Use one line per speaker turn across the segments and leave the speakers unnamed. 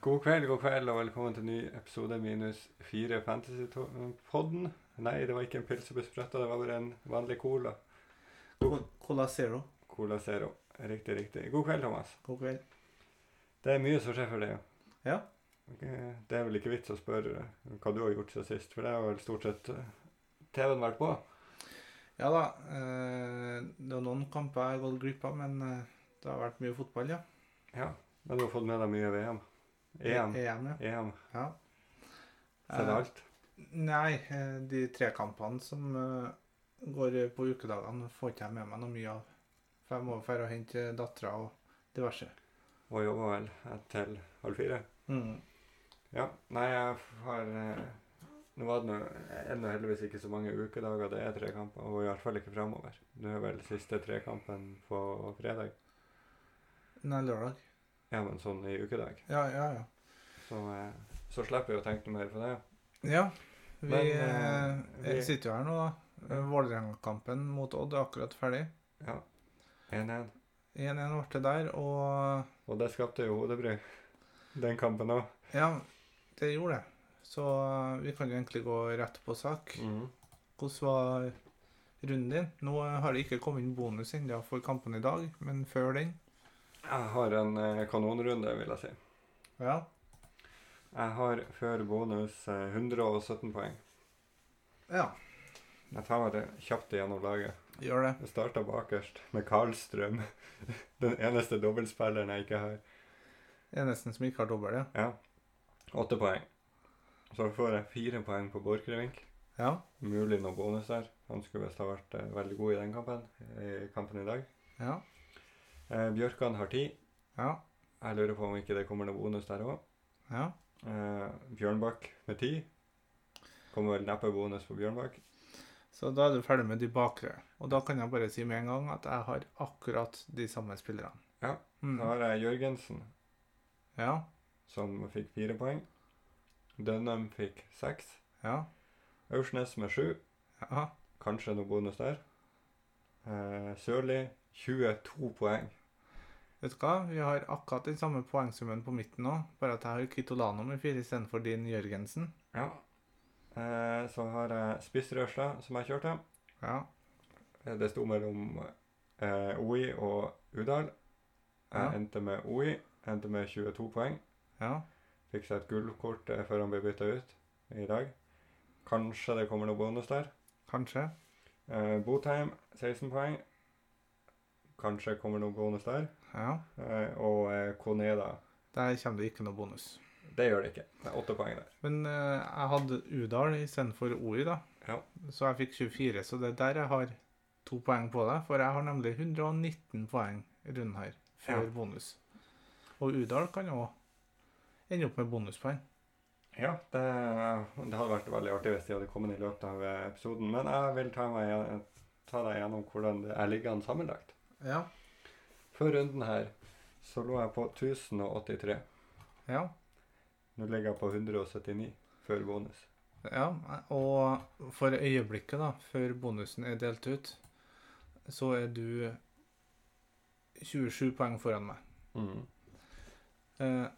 God kveld, god kveld, og velkommen til ny episode minus fire Fantasypodden. Nei, det var ikke en pils som ble sprøtta, det var bare en vanlig cola.
Cola- Cola Zero.
Cola Zero. Riktig, riktig. God kveld, Thomas.
God kveld.
Det er mye som skjer for deg.
Ja.
Eh, Det er vel ikke vits å spørre hva du har gjort siden sist, for det har vel stort sett eh, TV-en vært på.
Ja da. eh, Det er noen kamper jeg har gått glipp av, men eh, det har vært mye fotball, ja.
Ja. Men du har fått med deg mye E VM. EM.
E- EM ja.
EM.
ja.
Så det
Eh,
er E alt.
Nei, eh, de tre kampene som eh, går på ukedagene, får ikke jeg med meg noe mye av. For jeg må jo dra og hente dattera og diverse.
Og jobba vel til halv fire.
Mm.
Ja, nei, jeg har eh, Nå var det nå ennå heldigvis ikke så mange ukedager det er tre kamper, og i hvert fall ikke framover. Nå er vel siste trekampen på fredag.
Nei, lørdag.
Ja, men sånn i ukedag.
Ja, ja, ja.
Så, eh, så slipper jeg å tenke noe mer på det.
Ja. Vi
Men, eh,
eh,
vi-
sitter jo her nå, da. Eh,
Ja.
Vålerenga-kampen mot Odd er akkurat ferdig.
Ja. 1-1.
1-1 ble det der, og
Og det skapte jo hodebry, den kampen òg.
Ja, det gjorde det. Så eh, vi kan jo egentlig gå rett på sak. Hvordan var runden din? Nå har det ikke kommet inn bonus ennå for kampen i dag, men før den
Jeg har en eh, kanonrunde, vil jeg si.
Ja.
Jeg har før bonus eh, 117 poeng.
ja
Jeg tar det kjapt igjennom laget.
gjør det.
Jeg starta bakerst med Karlstrøm. Den eneste dobbeltspilleren jeg ikke har.
Eneste som ikke har dobbel, ja.
Ja. Åtte poeng. Så får jeg fire poeng på Borchgrevink.
Ja.
Mulig noen bonus der. Han skulle visst ha vært eh, veldig god i den kampen. eh, I kampen i dag.
Ja.
Eh, Bjørkan har ti.
Ja.
Jeg lurer på om ikke det kommer noen bonus der òg.
ja.
Eh, Bjørnbakk med ti. Kommer vel neppe bonus på Bjørnbakk.
Så da er du ferdig med de bakre. Og da kan jeg bare si med en gang at jeg har akkurat de samme spillerne.
Ja. Så
Mm.
har jeg Jørgensen,
Ja.
som fikk fire poeng. Dønnum fikk seks.
Ja.
Aursnes med sju.
Ja.
Kanskje noe bonus der. Eh, Sørli 22 poeng.
Vet du hva? Vi har akkurat den samme poengsummen på midten nå, bare at jeg har Kitolano med fire istedenfor din Jørgensen.
Ja. Eh, så har jeg spissrørsla, som jeg kjørte.
Ja.
Eh, Det sto mellom eh, OI og Udal. Jeg
Ja.
endte med OI. Endte med 22 poeng.
Ja.
Fikk seg et gullkort eh, før han ble bytta ut i dag. Kanskje det kommer noe bonus der.
Kanskje.
Eh, Botheim 16 poeng. Kanskje kommer noe bonus der.
Ja.
Eh, og eh, Koneda
Der kommer det ikke noe bonus.
Det gjør det ikke. Det er åtte poeng der.
Men eh, jeg hadde Udal istedenfor OI, da.
Ja.
Så jeg fikk 24, så det er der jeg har to poeng på deg. For jeg har nemlig 119 poeng rundt her før
Ja.
bonus. Og Udal kan òg ende opp med bonuspoeng.
Ja, det, det hadde vært veldig artig hvis de hadde kommet i løpet av eh, episoden. Men jeg vil ta, meg, ta deg gjennom hvordan det er liggende sammenlagt.
Ja.
Før runden her så lå jeg på 1083.
Ja.
Nå ligger jeg på 179 før bonus.
Ja, og for øyeblikket, da, før bonusen er delt ut, så er du 27 poeng foran meg. Eh,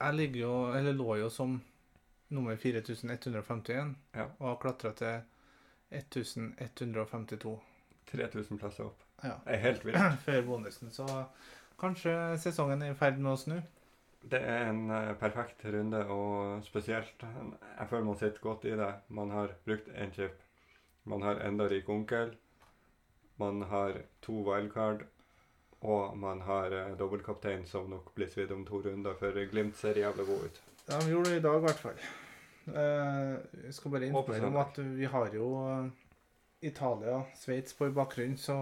Jeg ligger jo, eller lå jo som nummer 4151
Ja.
og har klatra til 1152
3000 plasser opp.
Ja.
Det er helt vilt.
før bonusen, så kanskje sesongen er i ferd med å snu.
Det er en eh, perfekt runde, og spesielt en- Jeg føler man sitter godt i det. Man har brukt én chip. Man har enda rik onkel. Man har to wildcard. Og man har eh, dobbeltkaptein som nok blir svidd om to runder, for Glimt ser jævla god ut.
Ja, vi gjorde det i dag i hvert fall. Eh, jeg skal bare
Håper sånn.
informere om at vi har jo eh, Italia og Sveits på i bakgrunnen, så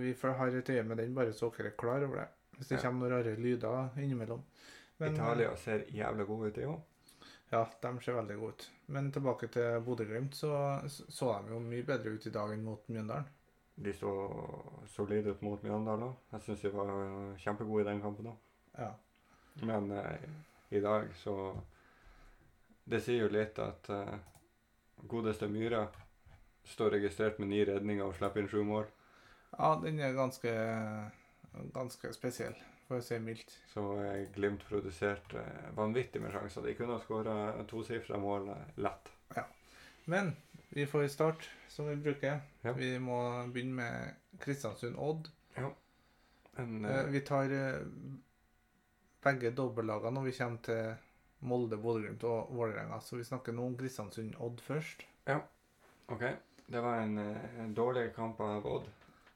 vi får- har et øye med den, bare så dere er klar over det. Hvis det
Ja.
kommer noen rare lyder innimellom. Men, eh,
Italia ser jævla god ut, de òg.
Ja, de ser veldig gode ut. Men tilbake til Bodø-Glimt, så så de jo mye bedre ut i dag enn mot Mjøndalen.
De så solide ut mot Mjøndalen òg. Jeg syns de var eh, kjempegode i den kampen òg.
Ja.
Men eh, i dag så Det sier jo litt at eh, godeste Myra står registrert med ni redninger og slipper inn sju mål.
ja, den er ganske ganske spesiell, for å si mildt.
Så eh, Glimt produserte vanvittig med sjanser. De kunne ha skåra tosifra mål eh, lett.
Men vi får starte som vi bruker.
Ja.
Vi må begynne med Kristiansund-Odd.
Men
Eh,
eh,
Vi tar eh, begge dobbeltlagene når vi kommer til Molde, Bodø-Glimt og Vålerenga. Så vi snakker nå om Kristiansund-Odd først.
OK. Det var en eh, dårlig kamp av Odd.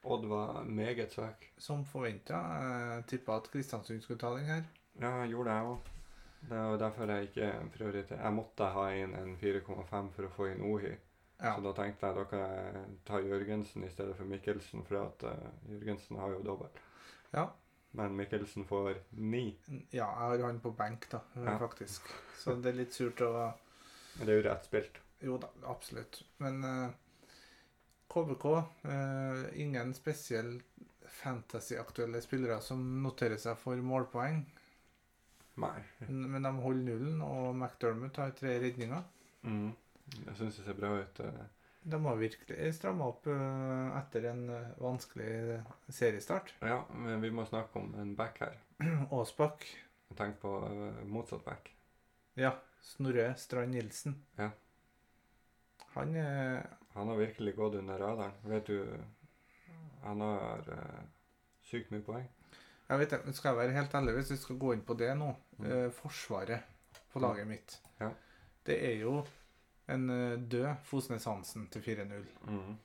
Odd var meget svak.
Som forventa. Tippa at Kristiansund skulle ta den her.
Ja, gjorde jeg òg. Det var derfor jeg ikke prioriterte. Jeg måtte ha inn en 4,5 for å få inn Ohi.
Ja.
Så da tenkte jeg da kan jeg ta Jørgensen i stedet for Mikkelsen, for at eh, Jørgensen har jo dobbelt.
Ja.
Men Mikkelsen får ni.
ja, jeg har han på benk, da, eh,
Ja.
faktisk. Så det er litt surt å
Men det er jo rett spilt.
Jo da, absolutt. Men eh, KBK eh, Ingen spesielt fantasy-aktuelle spillere som noterer seg for målpoeng.
Nei.
Men men de holder nullen, og McDermott har tre redninger.
Mm. Jeg syns det ser bra ut. eh.
De har virkelig stramma opp eh, etter en eh, vanskelig seriestart.
Ja, men vi må snakke om en back her.
Aasbakk,
Tenk på eh, motsatt back.
ja, Snorre Strand Nilsen.
Ja.
Han er
Han har virkelig gått under radaren. Vet du Han har eh, sykt mye poeng.
Jeg vet det, skal jeg være helt ærlig hvis vi skal gå inn på det nå.
Mm.
Eh, forsvaret på laget mitt.
Ja.
Det er jo en eh, død Fosnes Hansen til 4-0.
Mm.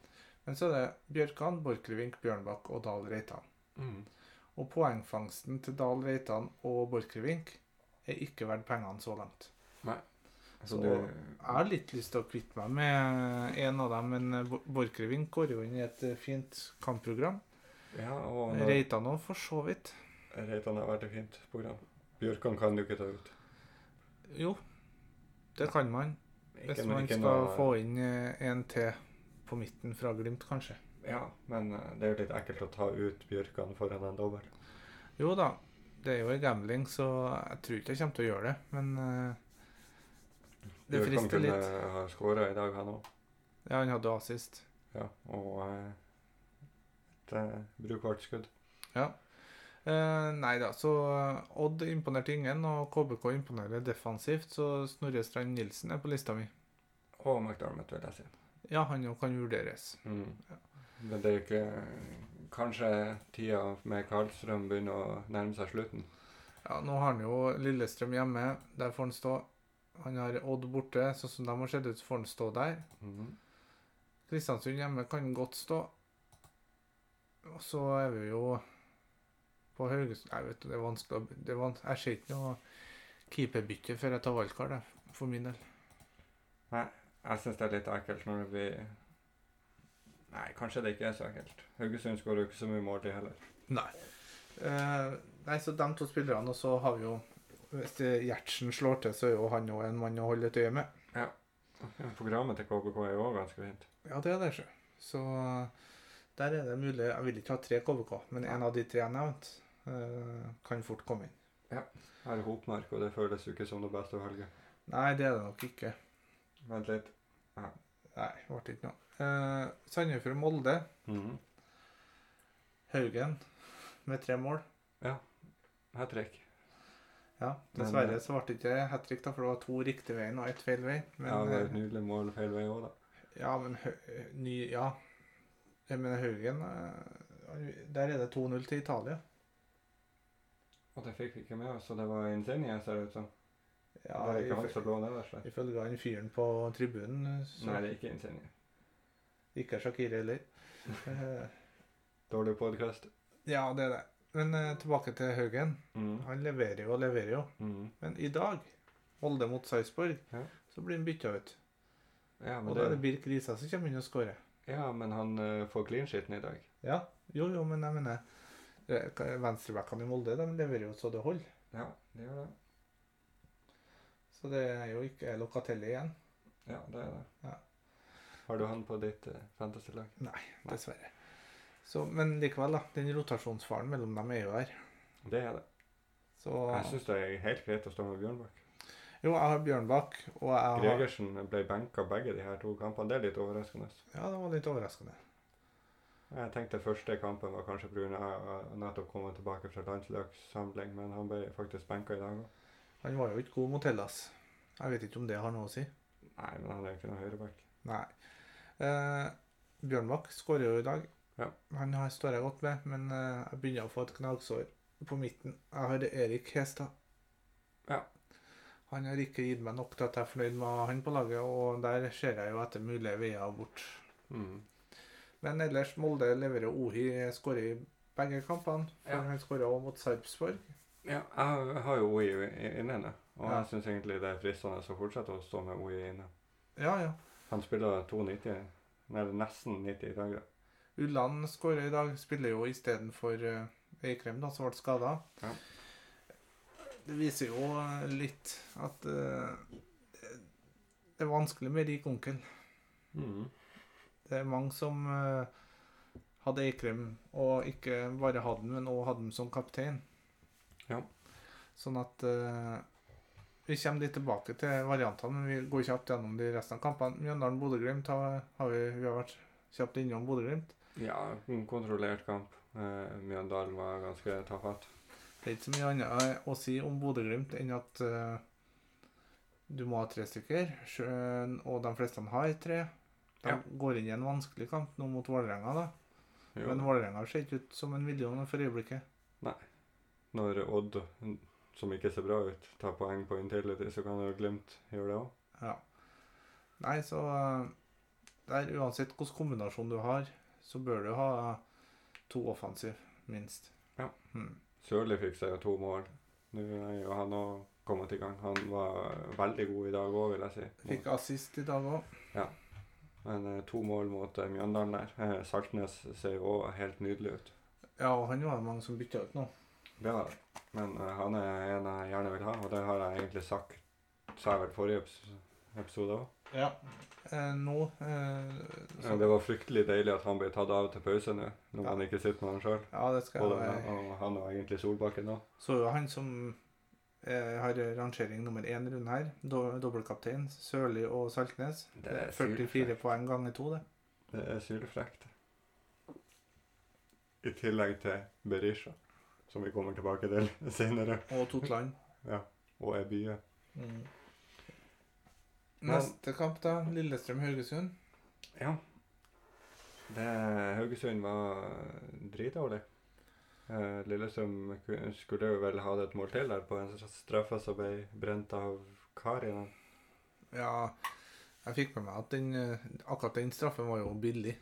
Men så er det Bjørkan, Borchgrevink, Bjørnbakk og Dahl Reitan.
Mm.
Og poengfangsten til Dahl Reitan og Borchgrevink er ikke verdt pengene så langt.
Så,
Så-
du
Jeg har litt lyst til å kvitte meg med en av dem, men eh, Bo- Borchgrevink går jo inn i et eh, fint kampprogram.
Ja, og når
Reitan òg, for så vidt.
Reitan har vært et fint program. Bjørkan kan du ikke ta ut.
Jo, det kan man. Hvis
Ikke-
man
ikke
skal
noe-
få inn eh, en til på midten fra Glimt, kanskje.
Ja, men eh, det er jo litt ekkelt å ta ut Bjørkan foran en dobbel.
Jo da, det er jo en gambling, så jeg tror ikke jeg kommer til å gjøre det. Men eh, det
Bjørkan
frister
kunne
litt.
ha skåra i dag, han òg.
Ja, han hadde assist.
Ja, og eh, et eh, brukbart skudd.
Eh, nei da, så eh, Odd imponerte ingen, og KBK imponerer defensivt, så Snorre Strand Nilsen er på lista mi.
Og McDermott, vil jeg si.
Ja, han jo kan vurderes.
Mm. Men det er jo ikke Kanskje tida med Karlstrøm begynner å nærme seg slutten.
Ja, Nå har han jo Lillestrøm hjemme, der får han stå. Han har Odd borte, sånn som de har sett ut, så får han stå der.
Mhm.
Kristiansund hjemme kan godt stå. Og så er vi jo på Haugesund Nei, vet du, det er vanskelig å det er van Jeg ser ikke noe keeperbytte før jeg tar valgkart, jeg, for min del.
Jeg syns det er litt ekkelt når det blir Nei, kanskje det ikke er så ekkelt. Haugesund skårer jo ikke så mye mål, de heller.
Nei. Eh, nei, så de to spillerne, og så har vi jo Hvis det Gjertsen slår til, så er jo han òg en mann å holde et øye med.
Programmet til KBK er jo òg ganske fint.
Ja, det er det, sjø. Så der er det mulig Jeg vil ikke ha tre KVK, men en av de tre jeg nevnte, eh, kan fort komme inn.
Her er Hopmark, og det føles jo ikke som det beste å velge.
Nei, det er det nok ikke.
Vent litt.
Nei, det ble ikke noe. Eh, Sandefjord Molde,
Mhm.
Haugen med tre mål.
Hat trick.
Ja,
Men,
Dessverre
eh,
så ble det ikke hat trick, da, for det var to riktig veien og ett feil vei. Men,
Ja, det er et
eh,
nydelig mål feil vei òg, da.
ja, men Hø- eh, ny, ja. Jeg mener Haugen eh, han- Der er det 2-0 til Italia.
Og det fikk vi ikke med oss, så det var Insigne, ser det ut som.
Ja,
det er ikke han
ifø-
som lå nederst der.
Ifølge han fyren på tribunen, eh, så
Nei, det er ikke Insigne.
ikke Shakiri heller. Eh,
Dårlig podkast.
ja, det er det. Men eh, tilbake til Haugen.
Mhm,
Han leverer jo og leverer jo. Men i dag, Molde mot Sarpsborg,
Ja.
så blir han bytta ut.
Ja, men
Og da er det Birk Risa som kommer inn og skårer.
Ja, men han eh, får clean sheeten i dag.
Ja, jo, jo, men jeg mener eh, hva- Venstrebackene i Molde de leverer jo så det holder.
Ja, det gjør det.
Så det er jo ikke Locatelli igjen,
Ja, det er det.
Ja.
Har du han på ditt uh, fantasy-lag? Nei.
dessverre. Så, men likevel, da. Den rotasjonsfaren mellom dem er jo her.
Det er det.
Så
Jeg syns det er helt greit å stå med Bjørnbakk.
Jo, jeg har Bjørnbakk, og jeg har
Gregersen ble benka begge de her to kampene. Det er litt overraskende.
Ja, det var litt overraskende.
Jeg tenkte første kampen var kanskje pga. nettopp kommet tilbake fra landslagssamling, men han ble faktisk benka i dag òg.
Han var jo ikke god mot Hellas. Jeg vet ikke om det har noe å si.
Nei, men han er jo ikke noe høyreback.
Nei. Eh, Bjørnbakk skårer jo i dag.
Ja.
Han har, står jeg godt med, men eh, jeg begynner å få et gnagsår på midten. Jeg har Erik Hestad.
Ja.
Han har ikke gitt meg nok til at jeg er fornøyd med å ha han på laget, og der ser jeg jo etter mulige veier bort.
Mm.
Men ellers, Molde leverer Ohi skårer i begge kampene. For
Ja.
Han skårer også mot Sarpsborg.
Ja, jeg har jo OI i- inne, nå, og
Ja.
jeg syns egentlig det er fristende å fortsette å stå med OI inne.
Ja, ja.
Han spiller 2,90, nei, nesten 90 i dag. da.
Ulland skårer i dag. Spiller jo istedenfor uh, Eikrem, da, som ble skada.
Ja.
Det viser jo eh, litt at eh, det- det er vanskelig med rik onkel.
Mm.
Det er mange som eh, hadde Eikrem, og ikke bare hadde han, men også hadde han som kaptein.
Ja.
Sånn at eh, Vi kommer litt tilbake til variantene, men vi går kjapt gjennom de resten av kampene. Mjøndalen-Bodø-Glimt har, har vi, vi har vært kjapt innom Bodø-Glimt.
Ja, en kontrollert kamp. Eh, Mjøndalen var ganske tafatt.
Det er ikke så mye annet å si om Bodø-Glimt enn at eh, du må ha tre stykker, sjøen, og de fleste har tre. De
Ja.
går inn i en vanskelig kamp nå mot Vålerenga, da.
Jo,
Men Vålerenga ser ikke ut som en million for øyeblikket.
Når Odd, som ikke ser bra ut, tar poeng på Intility, så kan jo Glimt gjøre det òg.
Ja. Nei, så eh, der, uansett hvilken kombinasjon du har, så bør du ha to offensiv, minst.
Ja.
Mm.
Sørli fikk seg jo to mål. Nå er jo han òg kommet i gang. Han var veldig god i dag òg, vil jeg si.
Fikk assist i dag òg.
Men eh, to mål mot eh, Mjøndalen der. Eh, Saltnes ser jo òg helt nydelig ut.
Ja, og han var det mange som bytta ut nå.
Det var det. Men eh, han er en jeg gjerne vil ha, og det har jeg egentlig sagt sa jeg vel forrige eps- episode òg.
Ja. Eh, nå eh, så-
Det var fryktelig deilig at han ble tatt av til pause nå, når
Ja.
han ikke sitter med han sjøl.
ja, det skal
Både
jeg
han og, han og egentlig Solbakken òg.
Så jo han som eh, har rangering nummer én rundt her, do- dobbeltkaptein, Sørli og Saltnes.
Det er
44 poeng ganger to, det.
Det er sylfrekt. I tillegg til Berisha, som vi kommer tilbake til senere,
Og Totland.
og Ebye.
Mm.
Men-
Neste kamp, da. Lillestrøm-Haugesund.
Ja. Det, Haugesund var dritdårlig. Eh, Lillestrøm ku- skulle jo vel hatt et mål til der på en straffe som ble brent av Karin.
Ja, jeg fikk med meg at den, eh, akkurat den straffen var jo billig.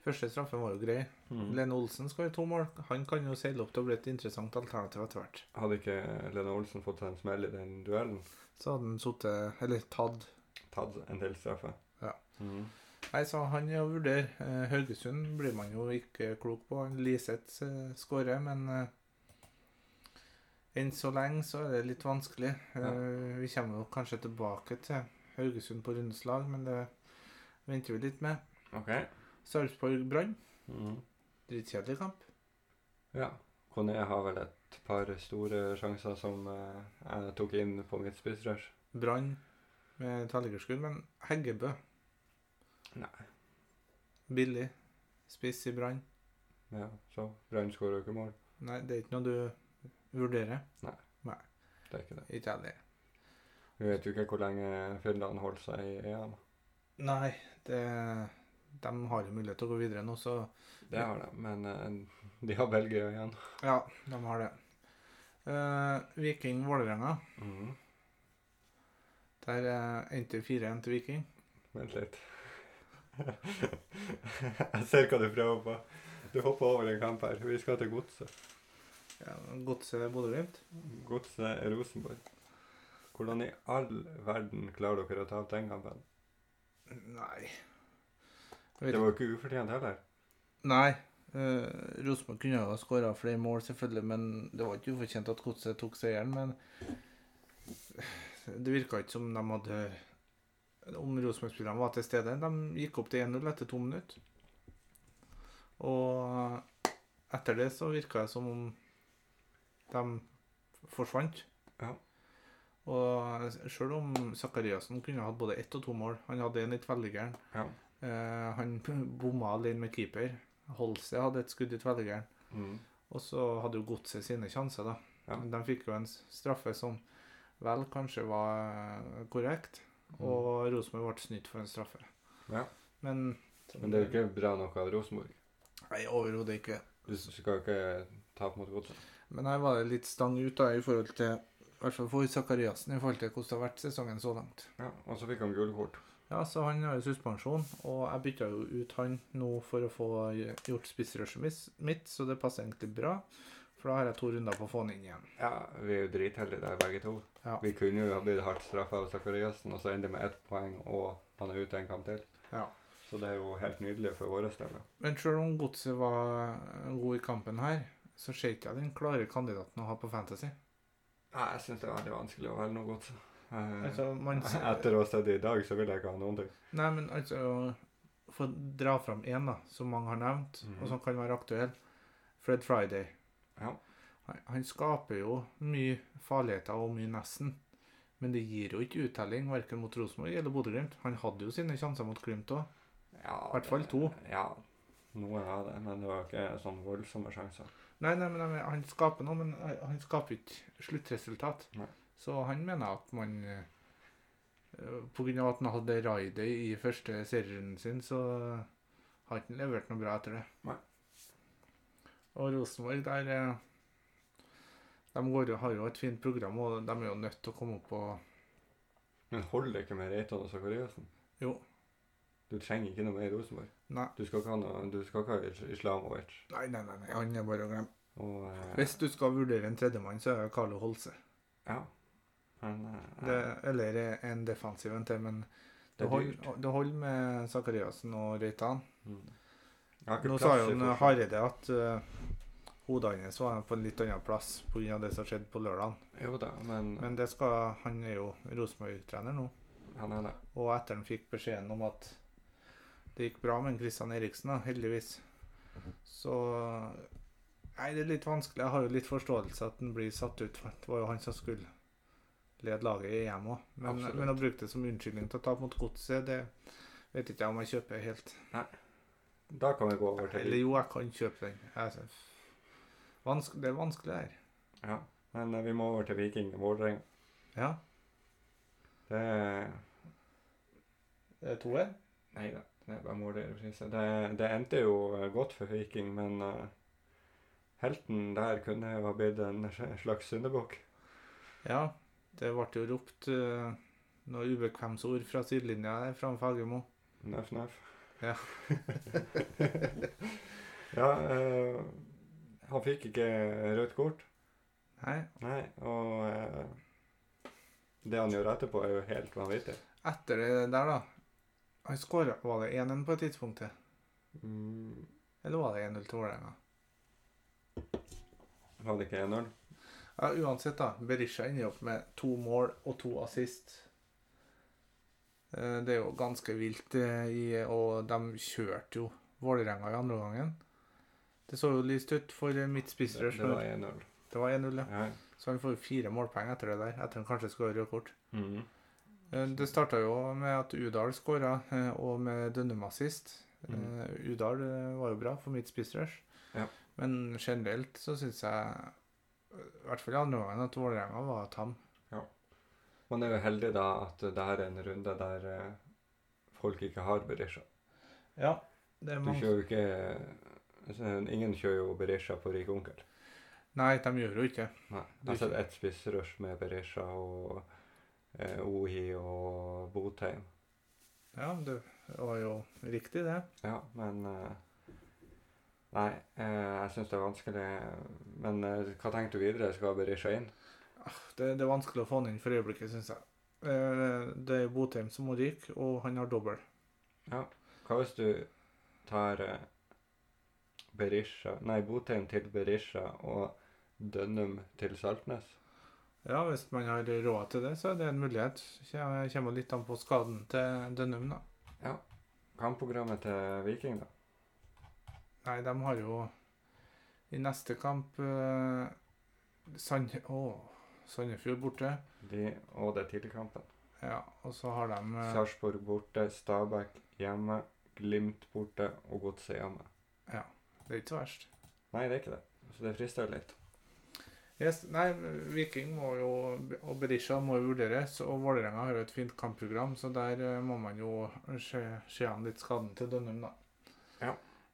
Første straffen var jo grei.
Mm.
Lene Olsen skårer to mål. Han kan jo seile opp til å bli et interessant alternativ etter hvert.
Hadde ikke Lene Olsen fått seg en smell i den duellen,
Så hadde han sittet Eller tatt
tatt en til straffe.
Ja.
Mhm.
Nei, så han er å vurdere. Eh, Haugesund blir man jo ikke klok på. Liseth eh, skårer, men eh, enn så lenge så er det litt vanskelig. Eh, Vi kommer jo kanskje tilbake til Haugesund på rundens lag, men det venter vi litt med.
OK.
Sarpsborg-Brann.
Mhm.
Dritkjedelig kamp.
Ja. Kone har vel et par store sjanser som eh, jeg tok inn på mitt spissrush.
Brann med tallerkenskudd, men Heggebø
Nei.
billig. Spiss i Brann.
Ja, så Brann skårer jo ikke mål.
Nei, det er ikke noe du vurderer.
Det er ikke det.
Ikke jeg det.
Vi vet jo ikke hvor lenge Finland holder seg i EM.
Nei, det, de har jo mulighet til å gå videre nå, så
Det har de, men eh, de har Belgia igjen.
ja, de har det. Eh, Viking Vålerenga.
Mhm.
Der eh, endte 4-1 til Viking.
Vent litt. jeg ser hva du prøver på. Du hopper over en kamp her. Vi skal til Godset.
Ja, Godset Bodø-Glimt.
Godset er Rosenborg. Hvordan i all verden klarer dere å ta opp den kampen?
Nei Jeg vet
Det var jo ikke ufortjent heller.
ikke. Nei. eh, Rosenborg kunne jo ha skåra flere mål, selvfølgelig, men det var ikke ufortjent at Godset tok seieren. Men det virka ikke som de hadde Om Rosenborg-spillerne var til stede. De gikk opp til 1-0 etter to minutter. Og etter det så virka det som om de forsvant.
Ja.
Og sjøl om Sakariassen kunne hatt både ett og to mål Han hadde en i tvellegeren.
Ja.
Eh, han bomma alene med keeper. Holse hadde et skudd i tverrliggeren.
Mm.
Og så hadde jo Godset sine sjanser, da.
Ja.
De fikk jo en s- straffe som vel kanskje var eh, korrekt, og Rosenborg ble snytt for en straffe.
Mm. Ja.
Men,
Men det er jo ikke bra nok av Rosenborg.
Nei, overhodet ikke.
Du skal ikke tape mot Godset.
Men her var det litt stang ut da, i forhold til i hvert fall for Zakariassen, i forhold til hvordan det har vært sesongen så langt.
Ja, og så fikk han gule kort.
Ja, så han har jo suspensjon, og jeg bytta jo ut han nå for å få gjort spissrushet mis- mitt, så det passer egentlig bra. For da har jeg to runder på å få han inn igjen.
Ja, vi er jo dritheldige der, begge to.
Ja.
Vi kunne jo ha blitt hardt straffa av Zakariassen, og så ender det med ett poeng, og han er ute en kamp til.
Ja.
Så det er jo helt nydelig for våre del. da.
Men selv om Godset var god i kampen her, så ser ikke jeg den klare kandidaten å ha på Fantasy.
Nei, jeg syns det er veldig vanskelig å velge noe godt. Eh,
Altså, man, s-
Etter å ha sett det i dag, så vil jeg ikke ha noen ting.
Nei, men altså Få dra fram én, da, som mange har nevnt,
Mhm.
og sånn, som kan være aktuell. Fred Friday.
Ja.
Han, han skaper jo mye farligheter og mye nesten. Men det gir jo ikke uttelling verken mot Rosenborg eller Bodø-Glimt. Han hadde jo sine sjanser mot Glimt òg.
Mm. Ja,
hvert fall
det-
to.
Ja, noen av det, men det var ikke sånn voldsomme sjanser.
Nei, nei, men jeg mener, han skaper noe, men eh, han han skaper ikke sluttresultat.
Nei.
Så han mener at man eh, på grunn av at han hadde raidet i første serierunden sin, så har ikke han levert noe bra etter det.
Nei.
Og Rosenborg, der eh, De går, jo- har jo et fint program, og de er jo nødt til å komme opp på
Men holder det ikke med Reitan og Zakariassen?
Jo.
Du trenger ikke noe mer Rosenborg.
Nei.
Du skal ikke ha, noe, du skal ikke ha Is- Islamovic.
Nei, nei, nei, nei, han er bare å glemme.
Og eh,
Hvis du skal vurdere en tredjemann, så er det Carlo Holse.
Ja. Men eh,
Det, eller en defensiv en til, men
det
det
er dyrt.
holder det holder med Sakariassen og Reitan.
Mm. Jeg har ikke
Nå sa
plass i
jo han,
forsvaret.
Hareide at eh, hodet hans var på en litt annen plass pga. det som skjedde på lørdag.
Jo da, men,
Men det skal, han er jo Rosenborg-trener nå.
han er det.
Og etter han fikk beskjeden om at det gikk bra med Kristian Eriksen, da, heldigvis, så Nei, det er litt vanskelig. Jeg har jo litt forståelse at han blir satt ut. for Det var jo han som skulle lede laget i EM òg. Men,
Absolutt.
men å bruke det som unnskyldning til å tape mot Godset, det vet ikke jeg om jeg kjøper helt.
Da kan vi gå over til
Eller jo, jeg kan kjøpe den. Jeg, vanske, det er vanskelig her.
Ja. Men eh, vi må over til Viking og Vålerenga.
Ja.
Det er
Det er toer.
Nei da, det er bare mål i reprise. Det, det endte jo eh, godt for Viking, men eh, helten der kunne jo ha blitt en slags syndebukk.
Ja. Det ble jo ropt eh, noen ubekvemsord fra sidelinja der fra Fagermo.
Nøff, nøff.
Ja.
ja eh, han fikk ikke rødt kort,
Nei.
nei, og eh, det han gjør etterpå, er jo helt vanvittig.
Etter det der, da. Han skåra Var det 1-1 på et tidspunkt? til?
Mm,
Eller var det 1-0 til Vålerenga?
var det ikke 1-0?
Ja, uansett, da. Berisha ender opp med to mål og to assist. Eh, Det er jo ganske vilt, eh, i- og de kjørte jo Vålerenga i andre omgangen. Det så jo lyst ut for eh, mitt
Det,
spissrush.
det var
men
1-0.
Det var 1-0, ja.
Ja.
Så han får jo fire målpoeng etter det der. Etter han kanskje skårer rødt kort.
Mm.
Eh, Det starta jo med at Udal skåra, og med Dønnum assist. Eh, Udal eh, var jo bra for mitt spissrush.
Mm. Ja.
Men generelt så syns jeg, i hvert fall i andre omgangen, at Vålerenga var tam.
Man er jo heldig da at det her er en runde der eh, folk ikke har Berisha.
Ja, det er
Du
mange.
kjører jo ikke altså, Ingen kjører jo Berisha på rik onkel.
Nei, de gjør jo ikke det.
Nei. Jeg
Du
har sett
kjører-
ett spissrush med Berisha og eh, Ohi og Botheim.
Ja, det var jo riktig, det.
Ja, men eh, Nei, eh, jeg syns det er vanskelig. Men eh, hva tenkte du videre? Skal Berisha inn?
Ah, Det, det er vanskelig å få han inn for øyeblikket, syns jeg. Eh, Det er Botheim som må ryke, og han har dobbel.
Hva hvis du tar eh, Berisha Nei, Botheim til Berisha og Dønnum til Saltnes?
Ja, hvis man har råd til det, så er det en mulighet. Kjem- Kommer litt an på skaden til Dønnum, da.
Kampprogrammet til Viking, da?
Nei, de har jo i neste kamp eh, Sand... Å, Sandefjord borte.
De, og det er tidligkampen.
Ja, og så har de eh,
Sarpsborg borte, Stabæk hjemme, Glimt borte og Godset hjemme.
Det er ikke så verst.
Nei, det er ikke det. Så det frister litt.
Yes, nei, Viking må jo, og Berisha må jo vurderes, og Vålerenga har jo et fint kampprogram, så der eh, må man jo se se an litt skaden til Dønnum, da.
Ja.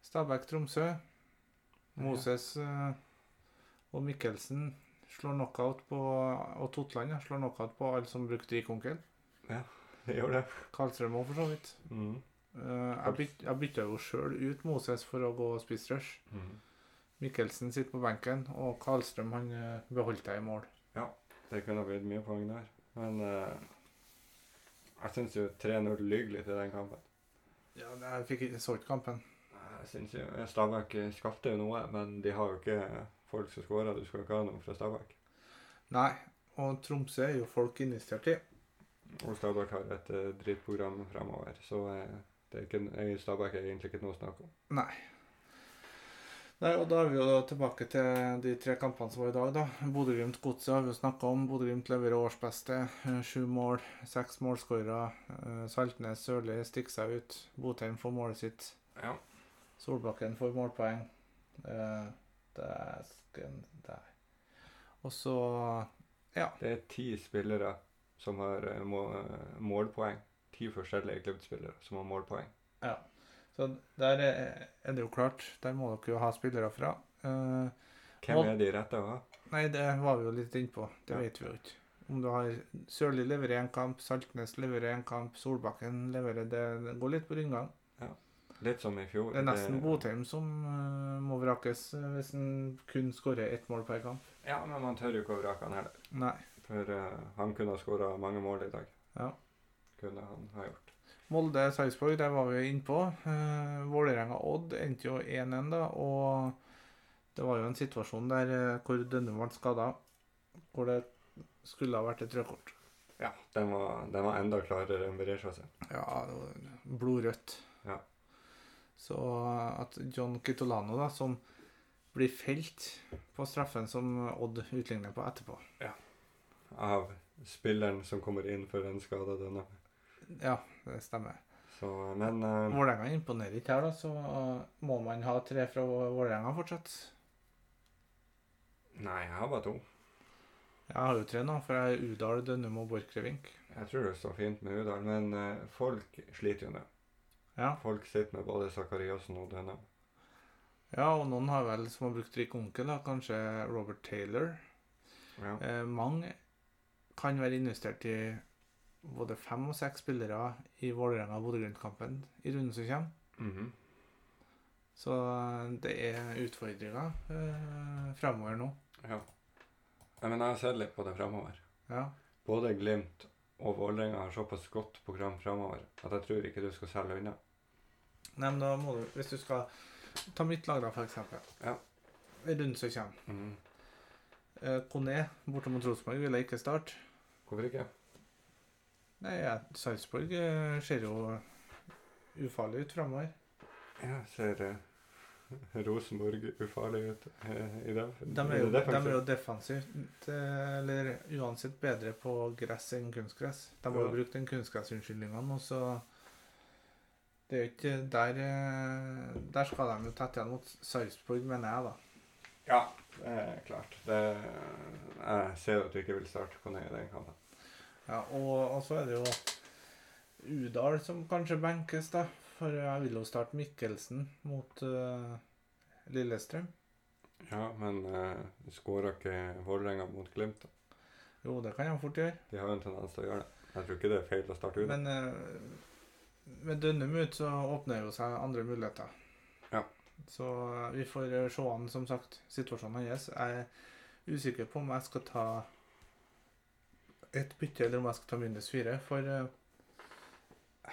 Stabæk-Tromsø. Moses eh, og Mikkelsen slår knockout på, og Totland ja, slår knockout på alle som brukte ikonkel.
Det gjør det.
Karlstrøm òg, for så vidt.
Mhm.
Eh, jeg, byt, jeg bytta jo sjøl ut Moses for å gå spissrush.
Mhm.
Mikkelsen sitter på benken, og Karlstrøm han eh, beholdt jeg i mål.
Det kunne ha blitt mye poeng der. Men eh, jeg syns jo 3-0 lyver litt i den kampen.
Ja, det- jeg fikk ikke så ikke kampen.
Jeg synes jo eh, Stabæk skapte jo noe, men de har jo ikke folk som skårer. Du skal ikke ha noe fra Stabæk.
Nei, og Tromsø er jo folk investert i.
Og Stabæk har et eh, drittprogram fremover, så eh, det er ikke, eh, Stabæk er egentlig ikke noe å snakke om.
Nei, og da er vi jo da tilbake til de tre kampene som var i dag, da. Bodø-Glimt Godset har vi jo snakka om. Bodø-Glimt leverer årsbeste. Eh, Sju mål, seks målskårere. Eh, Saltnes Sørli stikker seg ut. Botheim får målet sitt.
Ja.
Solbakken får målpoeng. Eh, Dæsken der. Og så
Det er ti spillere som har eh, må, eh, målpoeng. Ti forskjellige klubbspillere som har målpoeng.
Ja. Så der er er det jo klart. Der må dere jo ha spillere fra. Eh,
Hvem
Mål-
er de rette å ha?
Nei, det var vi jo litt innpå. Det
Ja.
vet vi jo ikke. Om du har Sørli leverer én kamp, Saltnes leverer én kamp, Solbakken leverer det Det går litt på rundgang.
Litt som i fjor.
Det er nesten Botheim som eh, må vrakes eh, hvis han kun skårer ett mål per kamp.
Ja, men man tør jo ikke å vrake han heller.
Nei.
For eh, han kunne ha skåra mange mål i dag.
Ja.
Kunne han ha gjort.
Molde-Sarpsborg, der var vi jo innpå. Uh, Vålerenga-Odd endte jo 1-1, da. Og det var jo en situasjon der eh, hvor Dønnum ble skada, hvor det skulle ha vært et rødkort.
Ja. Den var, den var enda klarere enn Berisha sin.
Ja, det var blodrødt.
Ja.
Så at John Kitolano, da, som blir felt på straffen som Odd utligner på etterpå
Av spilleren som kommer inn for en skada denne.
Ja, det stemmer.
Så, men eh,
Vålerenga imponerer ikke her, da, så uh, må man ha tre fra Vålerenga fortsatt.
Nei, jeg har bare to.
Jeg har jo tre nå, for jeg er Udal, Dønnum og Borchgrevink.
Jeg tror det står fint med Udal, men eh, folk sliter jo nå.
Ja.
Folk sitter med både Sakariassen og denne.
ja, og noen har vel som har brukt Rik Onkel, da, kanskje Robert Taylor.
Ja.
Eh, mange kan være investert i både fem og seks spillere i Vålerenga og Bodø-Glimt-kampen i runden som kommer.
Mhm.
Så eh, det er utfordringer eh, fremover nå.
ja. Nei, men jeg har sett litt på det framover.
Ja.
Både Glimt og Vålerenga har såpass godt program framover at jeg tror ikke du skal selge unna.
Nei, men da må du, hvis du skal ta mitt lag, da, for eksempel.
Ja.
I runden som kommer.
Mhm.
Eh, Kone borte mot Rosenborg vil jeg ikke starte.
Hvorfor ikke?
Nei, ja, Sarpsborg eh, ser jo ufarlig ut fremover.
Ja, ser eh, Rosenborg ufarlig ut eh, i dag?
De er jo, de er jo defensivt, eh, eller uansett bedre på gress enn kunstgress. De har jo
Ja.
brukt den kunstgressunnskyldningen, og så Det er jo ikke der eh, Der skal de jo tett igjen mot Sarpsborg, mener jeg, da.
Ja, det er klart. Det, jeg ser at du ikke vil starte på ned i den kampen.
Ja, og, og så er det jo Udal som kanskje benkes, da. For jeg vil jo starte Mikkelsen mot eh, Lillestrøm.
Ja, men uh, skåra ikke Vålerenga mot Glimt? da?
Jo, det kan jeg fort gjøre.
De har jo en tendens til å gjøre det. Jeg tror ikke det er feil å starte ut.
Men eh, med Dønnum ut så åpner jo seg andre muligheter.
Ja.
Så eh, vi får eh, se an, som sagt, situasjonen hans. Jeg er usikker på om jeg skal ta et bytte, eller om jeg skal ta minus fire. For eh,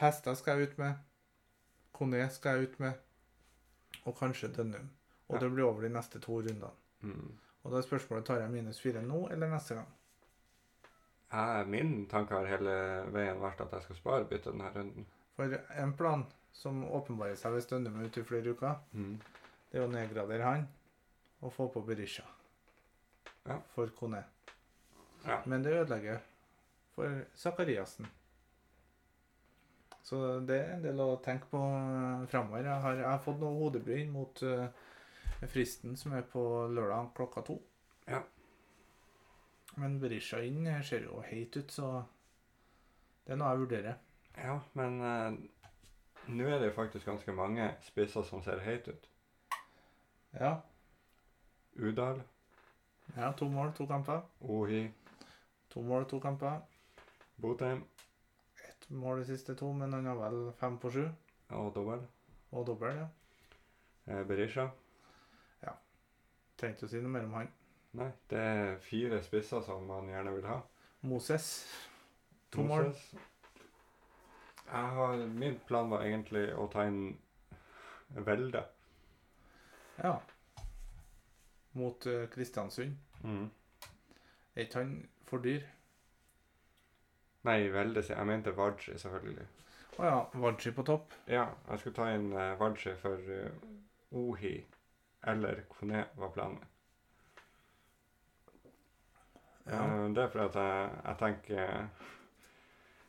hester skal jeg ut med. Kone skal jeg ut med. Og kanskje Dønnum. Og
Ja.
det blir over de neste to rundene.
Mm.
Og da er spørsmålet tar jeg minus fire nå eller neste gang.
Jeg, min tanke har hele veien vært at jeg skal spare bytte denne runden.
For en plan som åpenbarer seg hvis Dønnum er ute i flere uker,
Mm.
Det er å nedgradere han og få på Berisha
Ja.
for Kone.
Ja.
Men det ødelegger for Sakariassen. Så det er en del å tenke på eh, framover. Jeg har, jeg har fått noe hodebry inn mot eh, fristen som er på lørdag klokka to.
Ja.
Men Berisha inn ser jo heit ut, så det er noe jeg vurderer.
Ja, men eh, nå er det jo faktisk ganske mange spisser som ser heit ut.
Ja.
Udal,
ja to mål, to kamper.
Ohi,
To mål, to kamper.
Botheim
Ett mål de siste to, men han har vel fem på sju.
og Dobbel.
Og dobbel, ja.
Eh, Berisha.
Trengte å si noe mer om han.
Nei, det er fire spisser som man gjerne vil ha.
Moses. To mål.
Moses. Jeg har, min plan var egentlig å ta inn Velde.
Ja. Mot eh, Kristiansund.
Mm.
Er ikke han for dyr?
Nei, Velde, sier jeg. jeg mente Vardsi, selvfølgelig.
Å ja, Vanchi på topp.
Ja, jeg skulle ta inn uh, Vardsi for eh, Ohi eller Kone var planen.
Ja.
Eh, Det er fordi at jeg, jeg tenker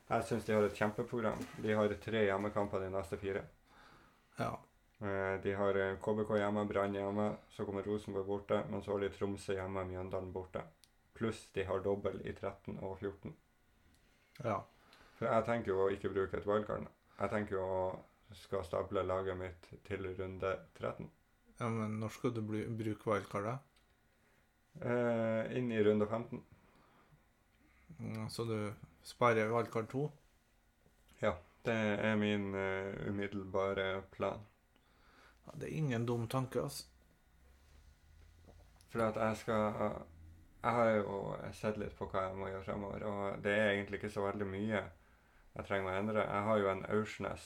Jeg syns de har et kjempeprogram. De har tre hjemmekamper de neste fire.
ja.
Eh, De har eh, KBK hjemme, Brann hjemme, så kommer Rosenborg borte. Men så har de Tromsø hjemme, Mjøndalen borte. Pluss de har dobbel i 13 og 14.
Ja.
For jeg tenker jo å ikke bruke et wildcard. nå. Jeg tenker jo å skal stable laget mitt til runde 13.
ja men når skal du bli, bruke wildcard, da?
Eh, inn i runde 15.
Mm, Så du sparer wildcard 2?
Det er min eh, umiddelbare plan.
Ja, det er ingen dum tanke, altså.
For at jeg skal Jeg har jo sett litt på hva jeg må gjøre fremover, og det er egentlig ikke så veldig mye jeg trenger å endre. Jeg har jo en Aursnes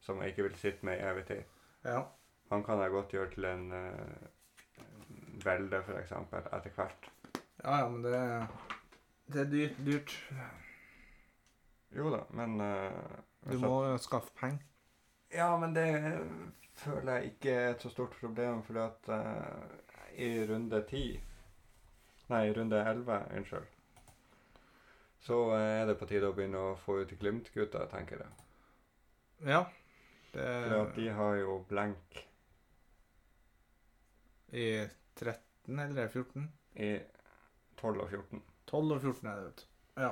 som jeg ikke vil sitte med i evig tid.
Ja.
Han kan jeg godt gjøre til en eh, Velde, for eksempel, etter hvert.
ja, ja, men det, det er dyrt. dyrt.
Jo da, men eh,
Du
hvis
må skaffe penger.
Ja, men det føler jeg ikke er et så stort problem, fordi at eh, i runde 10 Nei, i runde 11, unnskyld. Så eh, er det på tide å begynne å få ut Glimt-gutta, tenker jeg.
Ja.
For at
Det
de har jo blank
I 13 eller 14?
i 12 og 14.
12 og 14 er det, vet du.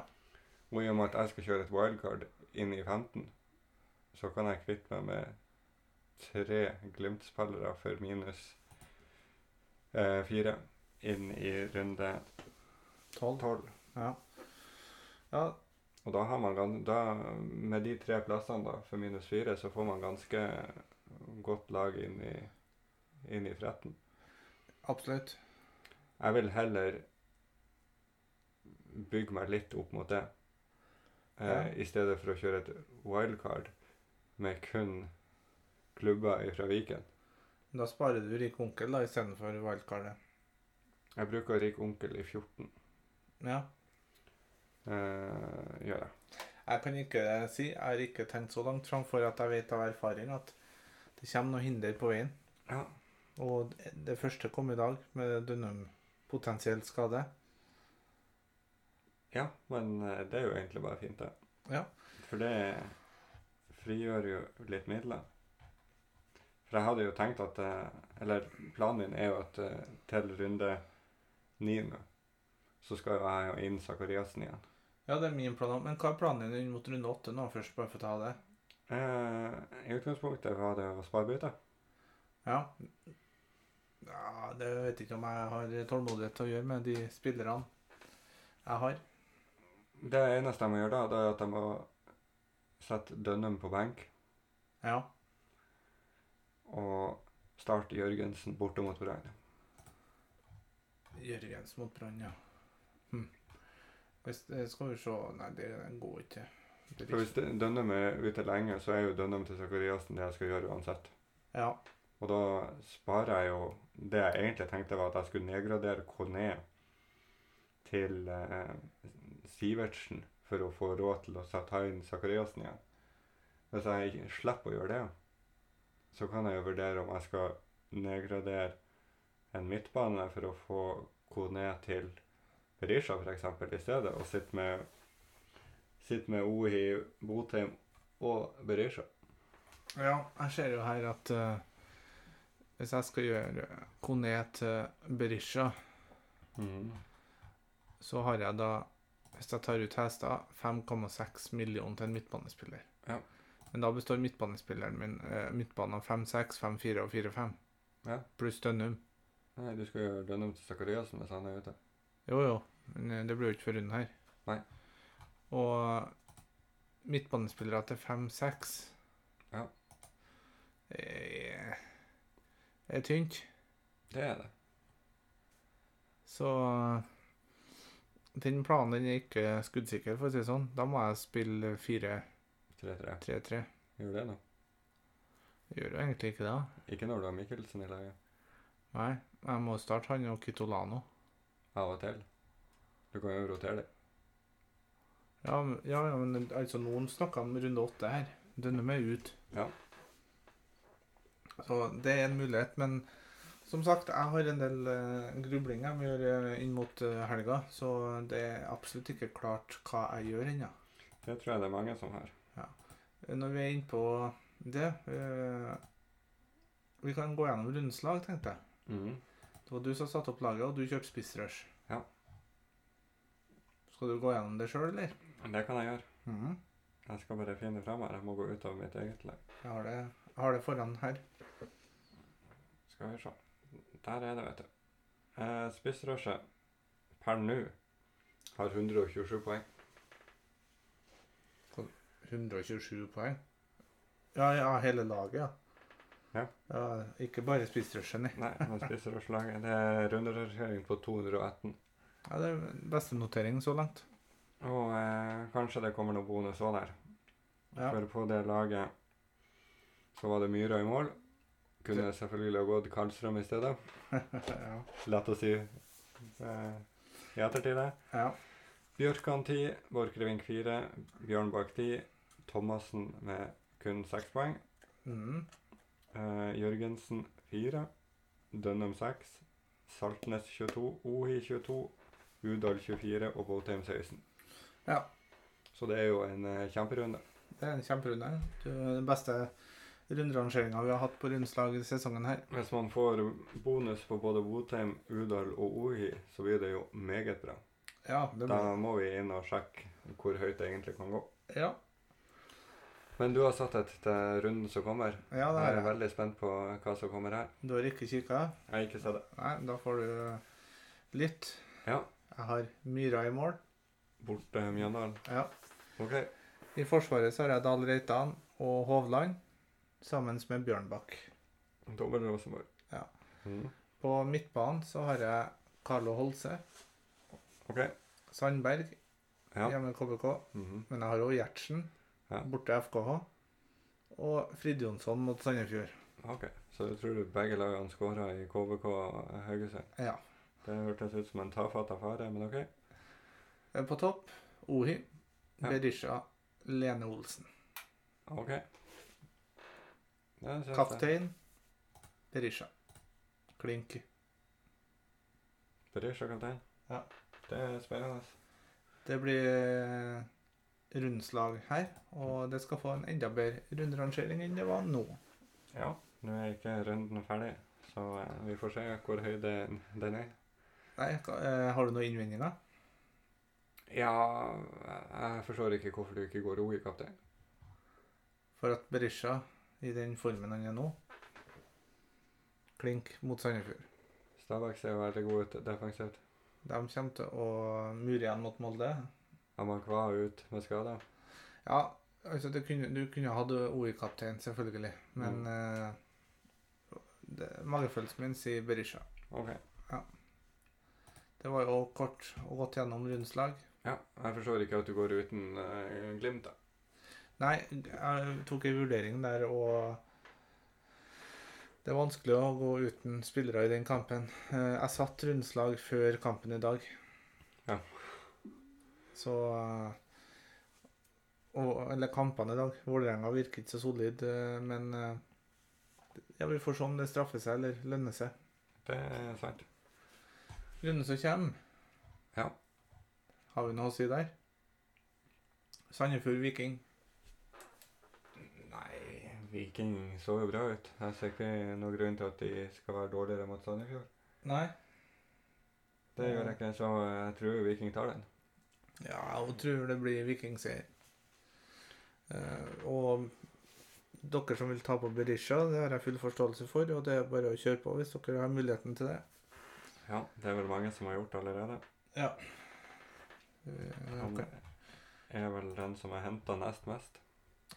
Og i og med at jeg skal kjøre et wildcard inn i 15, så kan jeg kvitte meg med tre Glimt-spillere for minus eh, fire inn i runde
12.
12.
Ja. ja.
Og da har man gan- da, Med de tre plassene da, for minus fire, så får man ganske godt lag inn i, inn i 13.
Absolutt.
Jeg vil heller bygge meg litt opp mot det, eh,
Ja.
i stedet for å kjøre et wildcard med kun klubber fra Viken.
Da sparer du rik onkel da, istedenfor wildcardet.
Jeg bruker Rik Onkel i 14,
Ja.
eh, gjør jeg.
Jeg kan ikke si, jeg har ikke tenkt så langt framfor at jeg vet av erfaring at det kommer noe hinder på veien.
Ja.
Og det første kom i dag med Dunham potensiell skade.
Ja, men eh, det er jo egentlig bare fint, det.
Ja.
For det frigjør jo litt midler. For jeg hadde jo tenkt at eh, Eller planen min er jo at eh, til runde ni nå, så skal jo jeg jo inn Sakariassen igjen.
Ja, det er min plan òg, men hva er planen din inn mot runde åtte nå, først, bare for å ta det?
Eh, I utgangspunktet var det å spare bytte.
Ja. ja det vet jeg ikke om jeg har tålmodighet til å gjøre med de spillerne jeg har.
Det eneste jeg må gjøre da, det er at jeg må sette Dønnum på benk
Ja.
og starte Jørgensen borte mot Brann.
Jørgens mot Brann, ja. Hm. Hvis, eh, skal vi se Nei, det går ikke. Det
For hvis Dønnum er ute lenge, så er jo Dønnum til Sakariassen det jeg skal gjøre uansett.
Ja.
Og da sparer jeg jo Det jeg egentlig tenkte, var at jeg skulle nedgradere Kone til eh, Sivertsen for å få råd til å sa- ta inn Sakariassen igjen. Hvis jeg ikke slipper å gjøre det, så kan jeg jo vurdere om jeg skal nedgradere en midtbane for å få Kone til Berisha, f.eks., i stedet, og sitte med, sitte med Ohi, Botheim og bryr seg.
Ja, jeg ser jo her at eh, hvis jeg skal gjøre Kone til Berisha, så har jeg da, hvis jeg tar ut Hestad, 5,6 millioner til en midtbanespiller.
Ja.
Men da består midtbanespilleren min eh, midtbanen av 5-6, 5-4 og 4-5.
Ja.
Pluss Dønnum.
Nei, du skal gjøre den om til Zakariassen hvis han er ute.
Jo, jo, men eh, det blir jo ikke før runden her.
Nei.
Og eh, midtbanespillere til 5-6
Ja.
er, Eh, er tynt.
Det er det.
Så eh, den planen den er ikke skuddsikker, for å si det sånn. Da må jeg spille 4-3-3.
3-3. Gjør det nå.
Jeg gjør jo egentlig ikke det. da.
Ikke når du har Mikkelsen i laget.
Nei, jeg må starte han og Kitolano.
Av og til. Du kan jo rotere det.
Ja, men- ja, ja, men altså, noen snakker om runde åtte her. Denne med ut.
Ja.
Så det er en mulighet, men som sagt, jeg har en del eh, grublinger vi gjør eh, inn mot eh, helga, så det er absolutt ikke klart hva jeg gjør ennå. Eh,
Det tror jeg det er mange som har.
Når vi er inne på det eh, Vi kan gå gjennom rundens lag, tenkte jeg.
Mhm.
Det var du som satte opp laget, og du kjørte spissrush.
Ja.
Skal du gå gjennom det sjøl, eller?
Det kan jeg gjøre.
Mhm.
Jeg skal bare finne det fram her. Jeg må gå ut av mitt eget lag.
Jeg har det, jeg har det foran her.
Skal vi se. Der er det, vet du. Eh, Spissrushet per nå har 127 poeng.
127 poeng. Ja, ja, hele laget, ja.
Ja.
ja ikke bare spissrushen, nei.
Nei, men spissrush-laget Det er runderangering på 218.
Ja, det er beste notering så langt.
Og eh, kanskje det kommer noe bonus òg der.
Ja.
For på det laget så var det Myra i mål. Kunne selvfølgelig ha gått Karlstrøm i stedet.
ja.
Lett å si eh, i ettertid. det.
ja.
Bjørkan 10, Borchgrevink 4, Bjørnbakk 10, Thomassen med kun 6 poeng.
Mhm.
Eh, Jørgensen 4, Dønnum 6, Saltnes 22, Ohi 22, Udal 24 og Botheim 16.
Ja.
Så det er jo en eh, kjemperunde.
Det er en kjemperunde. Det er den beste runderangeringa vi har hatt på rundslag i sesongen her.
Hvis man får bonus på både Botheim, Udal og Ohi, så blir det jo meget bra.
Ja, det
Da
blir...
må vi inn og sjekke hvor høyt det egentlig kan gå.
ja.
Men du har satt et til runden som kommer.
ja det
jeg
er
er
det.
veldig spent på hva som kommer her.
Du har ikke kikka?
Jeg har ikke sett det.
Nei, da får du litt.
Ja.
Jeg har Myra i mål.
Borte Mjøndalen.
Ja.
OK.
I Forsvaret så har jeg Dahl Reitan og Hovland sammen med Bjørnbakk.
Dobbel Rosenborg.
Ja.
Mhm.
På midtbanen så har jeg Carlo Holse,
OK.
Sandberg,
Ja.
hjemme i KBK.
Mhm.
Men jeg har også Gjertsen,
Ja.
borte i FKH. Og Frid Jonsson mot Sandefjord.
OK. Så du tror begge lagene skåra i KBK og Haugesund?
Ja.
Det hørtes ut som en tafatt affære, men OK.
Eh, På topp Ohi,
Ja.
Berisha, Lene Olsen.
OK. Det synes jeg-
Kaptein Berisha. Klink.
Berisha kaptein.
Ja.
Det er spennende.
Det blir eh, rundslag her, og det skal få en enda bedre runderangering enn det var nå.
Ja. Nå er ikke runden ferdig, så eh, vi får se hvor høy den, den er.
Nei, hva- eh, har du noen innvendinger?
Ja, jeg forstår ikke hvorfor du ikke går ro i kaptein.
For at Berisha, i den formen han er nå Klink mot Sandefjord.
Stabæk ser jo veldig god ut defensivt.
De kommer til å mure igjen mot Molde.
Amakwa er ut med skade.
Ja, altså det kunne, du kunne hatt OI-kaptein, selvfølgelig, men eh, det, magefølelsen min sier Berisha.
OK.
Det var jo kort og godt gjennom rundslag.
Ja, jeg forstår ikke at du går uten eh, Glimt, da.
Nei, jeg tok en vurdering der, og det er vanskelig å gå uten spillere i den kampen. Eh, Jeg satt rundslag før kampen i dag.
Ja.
Så eh, og, Eller kampene i dag. Vålerenga virker ikke så solid, eh, men eh, ja, vi får se om det straffer seg eller lønner seg.
Det er sant.
Runden som kommer,
Ja.
har vi noe å si der? Sandefjord Viking.
Viking så jo bra ut. Jeg ser ikke noen grunn til at de skal være dårligere mot Sandefjord.
Nei?
Det gjør jeg ikke, så jeg tror Viking tar den.
Ja, jeg tror det blir vikingseier. Eh, og dere som vil ta på Berisha, det har jeg full forståelse for, og det er bare å kjøre på hvis dere har muligheten til det.
Ja, det er vel mange som har gjort det allerede.
Eh,
Han
ok.
er vel den som har henta nest mest,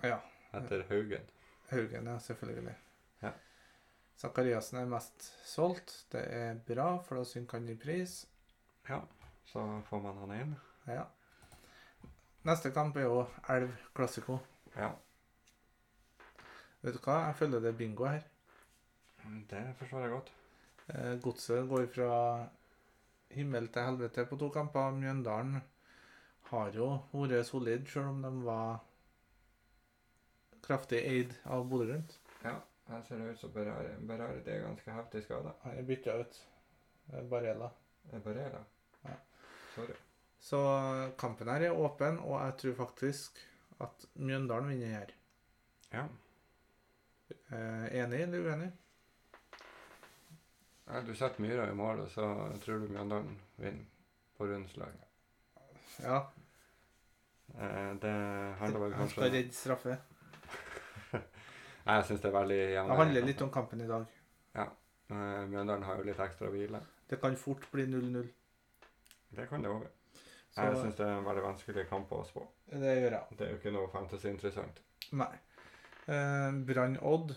Ja.
etter Haugen.
Haugen, ja, selvfølgelig.
Ja.
Zakariassen er mest solgt. Det er bra, for da synker han i pris.
Ja, så får man han inn.
Ja. Neste kamp er jo Elv Classico.
Ja,
Vet du hva, jeg føler det er bingo her.
det forstår jeg godt.
Eh, Godset går fra himmel til helvete på to kamper. Mjøndalen har jo vært solid, selv om de var kraftig eid av Bodø Glimt.
Ja, her ser det ut som Berare, Berare det er ganske heftig skada.
Han er bytta ut. Det er Barella.
Berare?
Ja.
Sorry.
Så kampen her er åpen, og jeg tror faktisk at Mjøndalen vinner her.
Ja.
Eh, enig eller uenig?
ja. Du setter Myra i mål, og så tror du Mjøndalen vinner på rundslag.
Ja.
Eh, det handler vel
Han
kanskje
skal redde straffe.
Nei, jeg syns det er veldig jevn.
Det handler litt om kampen i dag.
Eh, Mjøndalen har jo litt ekstra hvile.
Det kan fort bli 0-0.
Det kan det òg.
Så
Jeg syns det er en veldig vanskelig kamp å spå.
det gjør jeg.
Det er jo ikke noe fantasy-interessant.
Nei. Eh, Brann Odd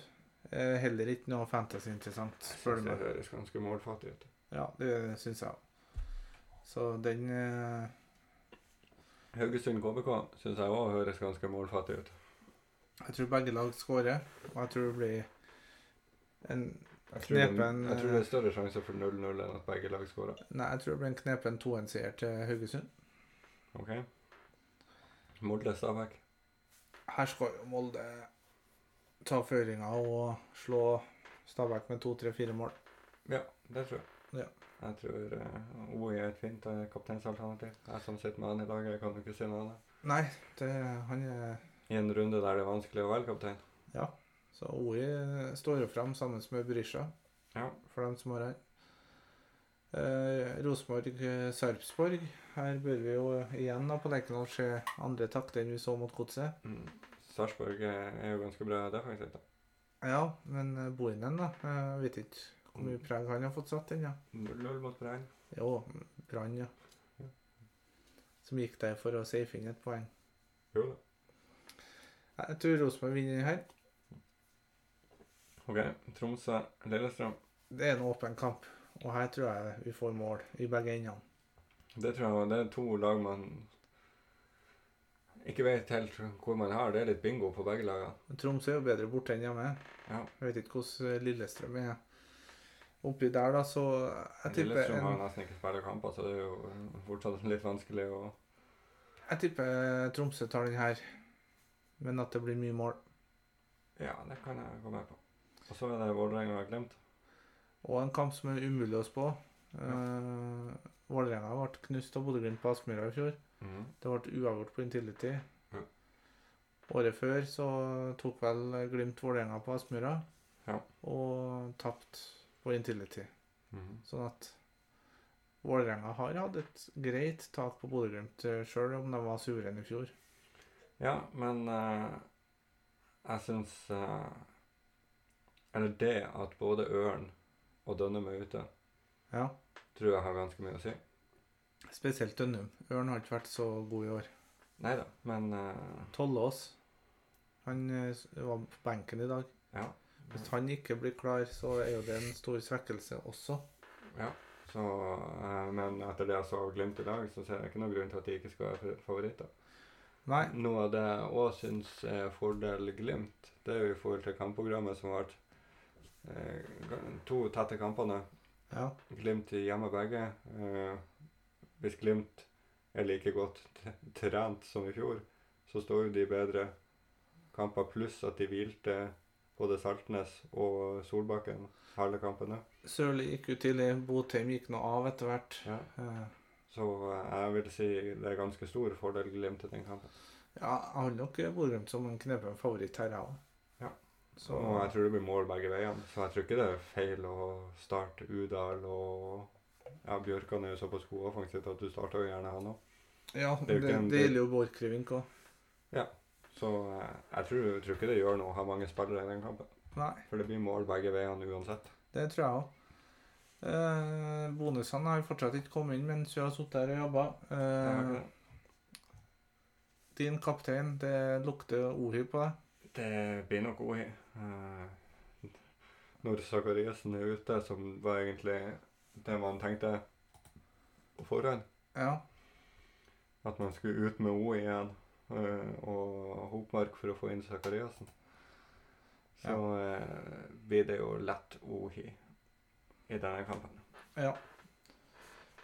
er heller ikke noe fantasy-interessant, spør
Synes
du
Det
meg.
høres ganske målfattig ut.
Ja, det syns jeg òg. Så den eh,
Haugesund KBK syns jeg òg høres ganske målfattig ut.
Jeg tror begge lag skårer, og jeg tror det blir en
Jeg tror, det,
Knepen,
jeg tror det
eh,
er større sjanse for 0-0 enn at begge lag skårer.
Nei, jeg tror det blir en knepen 2-1-seier til Haugesund.
OK? Molde Stabæk.
Her skal jo Molde ta føringa og slå Stabæk med to-tre-fire mål.
Ja, det tror jeg.
Ja.
Jeg tror eh, OI er et fint eh, kapteinsalternativ. Jeg som sitter med han i laget, jeg kan jo ikke si noe annet.
Nei, det, han er
I en runde der det er vanskelig å velge kaptein.
Så OI står jo fram sammen med Brisja,
Ja.
for dem som har her. Eh, Rosenborg, eh, Sarpsborg. Her bør vi jo igjen da på Lerkendal se andre takter enn vi så mot Godset.
Mm. Sarpsborg eh, er jo ganske bra defensivt. da.
Ja, men eh, Bohinen, da. eh, Jeg vet ikke hvor mye preg han har fått satt ennå.
0-0 mot Brann.
Jo, Brann, ja. Som gikk der for å safe inn et poeng.
Jo da.
Nei, Jeg tror Rosenborg vinner her.
OK. Tromsø Lillestrøm.
Det er en åpen kamp, og her tror jeg vi får mål i begge endene.
Det tror jeg det er to lag man ikke vet helt hvor man har. Det er litt bingo på begge lagene.
Tromsø er jo bedre borte enn hjemme.
Ja.
Jeg vet ikke hvordan Lillestrøm er oppi der, da, så jeg tipper,
Lillestrøm har
en,
nesten ikke spilt kamper, så det er jo mm, fortsatt litt vanskelig å
jeg tipper Tromsø tar den her. Men at det blir mye mål.
Ja, det kan jeg gå med på. Og så er det Vålerenga og Glimt.
Og en kamp som er umulig å spå. Eh, Vålerenga ble knust av Bodø-Glimt på Aspmyra i fjor.
Mhm,
Det ble uavgjort på Intility.
Ja.
Året før så tok vel Glimt Vålerenga på Aspmyra,
Ja.
og tapte på Intility.
mhm.
Sånn at Vålerenga har hatt et greit tak på Bodø-Glimt, sjøl om de var suverene i fjor.
Ja, men eh, jeg syns eh, Eller det at både Ørn og Dønnum er ute,
Ja,
tror jeg har ganske mye å si.
Spesielt Dønnum. Ørn har ikke vært så god i år.
Nei da, men eh,
Tollås han eh, s- var på benken i dag.
ja.
Hvis han ikke blir klar, så er jo det en stor svekkelse også.
Så, eh, men etter det jeg så av Glimt i dag, så ser jeg ikke noen grunn til at de ikke skal være fa- favoritter.
Nei,
Noe av det jeg òg syns er fordel Glimt, det er jo i forhold til kampprogrammet som har vært eh, ga- to tette kampene.
ja.
Glimt hjemme begge. Eh, hvis Glimt er like godt t- trent som i fjor, så står jo de bedre kamper, pluss at de hvilte både Saltnes og Solbakken halve kampene.
Sørli gikk jo tidlig. Botheim gikk nå av etter hvert.
Ja.
Eh,
Så eh, jeg vil si det er ganske stor fordel Glimt i den kampen.
Ja, jeg har nok Bodø-Glimt som en knepen favoritt her, jeg òg.
Ja.
Så
Og jeg tror det blir mål begge veiene, så jeg tror ikke det er feil å starte Udal og ja, Bjørkan er jo såpass god offensivt at du starter jo gjerne han òg.
ja,
det er jo
det,
ikke en-
det gjelder jo Borchgrevink òg.
Så eh, jeg tror, jeg tror ikke det gjør noe å ha mange spillere i den kampen.
Nei,
For det blir mål begge veiene uansett.
det tror jeg òg. Eh, bonusene har jo fortsatt ikke kommet inn mens vi har sittet her og jobba.
Jeg har
Eh,
ikke det.
din kaptein, det lukter ohy på deg.
Det blir nok OI. Eh, Når Zakariassen er ute, som var egentlig det man tenkte på forhånd,
Ja.
at man skulle ut med OI igjen eh, og Hopmark for å få inn Zakariassen, så eh, blir det jo lett OI i denne kampen.
Ja.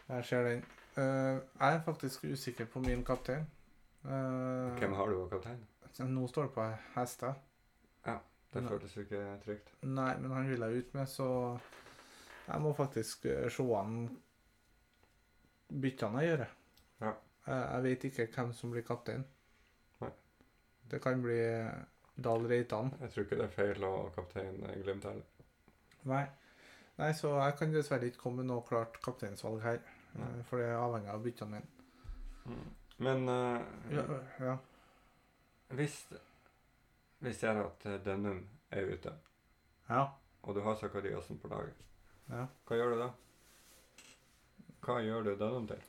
Jeg ser den. Eh, jeg er faktisk usikker på min kaptein. Eh,
Hvem har du som kaptein?
Nå står det på hester.
Det
Nei.
føltes jo ikke trygt.
Nei, men han vil jeg ut med, så jeg må faktisk eh, se an byttene jeg gjør.
Ja.
Jeg, jeg vet ikke hvem som blir kaptein.
Nei.
Det kan bli eh, Dahl Reitan.
Jeg tror ikke det er feil å kapteine Glimt heller.
Nei. Nei, så jeg kan dessverre ikke komme med noe klart kapteinsvalg her. eh,
Nei.
For det er avhengig av byttene mine.
Men eh,
Mm. Ja, ja.
hvis vi ser at eh, Dønnum er ute
ja.
og du har Zakariassen på laget,
Ja.
hva gjør du da? Hva gjør du Dunham til?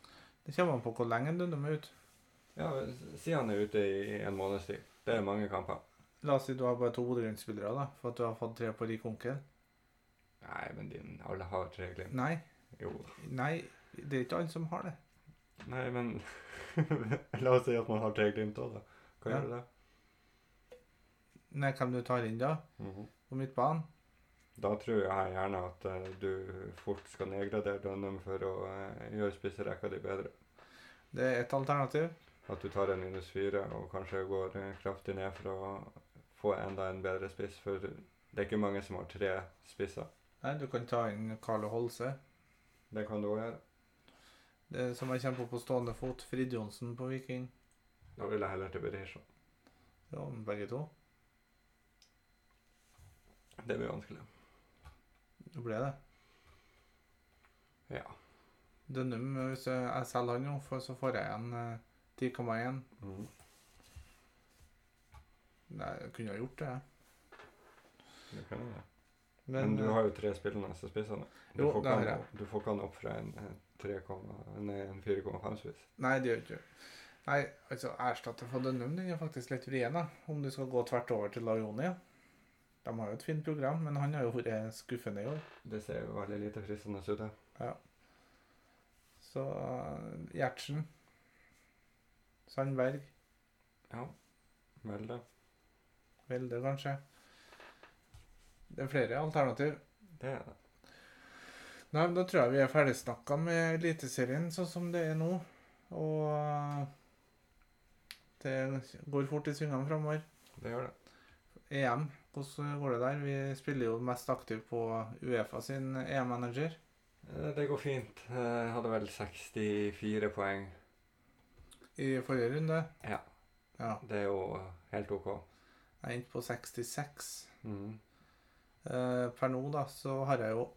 Det kommer an på hvor lenge du er ute.
Ja, s- Si han er ute i en måneds tid. Det er mange kamper.
La oss si du har bare to Bodø-Glimt-spillere, da, for at du har fått tre på lik onkel.
Nei, men din, alle har tre glimt.
Nei,
Jo da.
nei, det er ikke alle som har det.
Nei, men La oss si at man har tre glimt òg, da. Hva
Ja.
gjør du da?
Nei, hvem du tar inn da,
Mhm.
på midtbanen.
Da tror jeg gjerne at eh, du fort skal nedgradere Dunham for å eh, gjøre spisserekka di bedre.
Det er ett alternativ.
At du tar en minus fire og kanskje går eh, kraftig ned for å få enda en bedre spiss. For det er ikke mange som har tre spisser.
Nei, du kan ta inn Carlo Holse,
Det kan du òg gjøre.
det som jeg kjemper på stående fot. Frid Johnsen på Viking.
Da vil jeg heller til Berisha.
Ja, men begge to.
Det blir vanskelig.
Det ble det.
Ja.
Dønnum, hvis jeg jeg selger han nå, for så får jeg igjen eh, 10,1.
Mm.
Nei, jeg kunne ha gjort det, jeg.
Det kan jeg. gjøre.
Men, eh,
Men du har jo tre spillende spisser nå. Du,
Jo,
får
det
ikke
har
han- du får ikke han opp fra en, en, 3,0 nei, en 4,5-spiss.
Nei, det gjør ikke det. Nei, altså, erstatter for Dønnum, den er faktisk litt vrien, da. Om du skal gå tvert over til Laioni. De har jo et fint program, men han har jo vært skuffende i år.
Det ser jo veldig lite fristende ut. det.
Så eh, Gjertsen. Sandberg.
Ja. Vel, det.
Velde, kanskje. Det er flere alternativ.
Det er det.
Nei, men Da tror jeg vi er ferdigsnakka med Eliteserien sånn som det er nå. Og eh, det går fort i svingene framover.
Det gjør det.
EM, hvordan går det der? Vi spiller jo mest aktivt på Uefa sin EM-manager.
Eh, Det går fint. Jeg hadde vel 64 poeng.
I forrige runde
Ja.
ja,
Det er jo eh, helt OK.
jeg endte på 66.
Mhm.
Eh, per nå da, så har jeg jo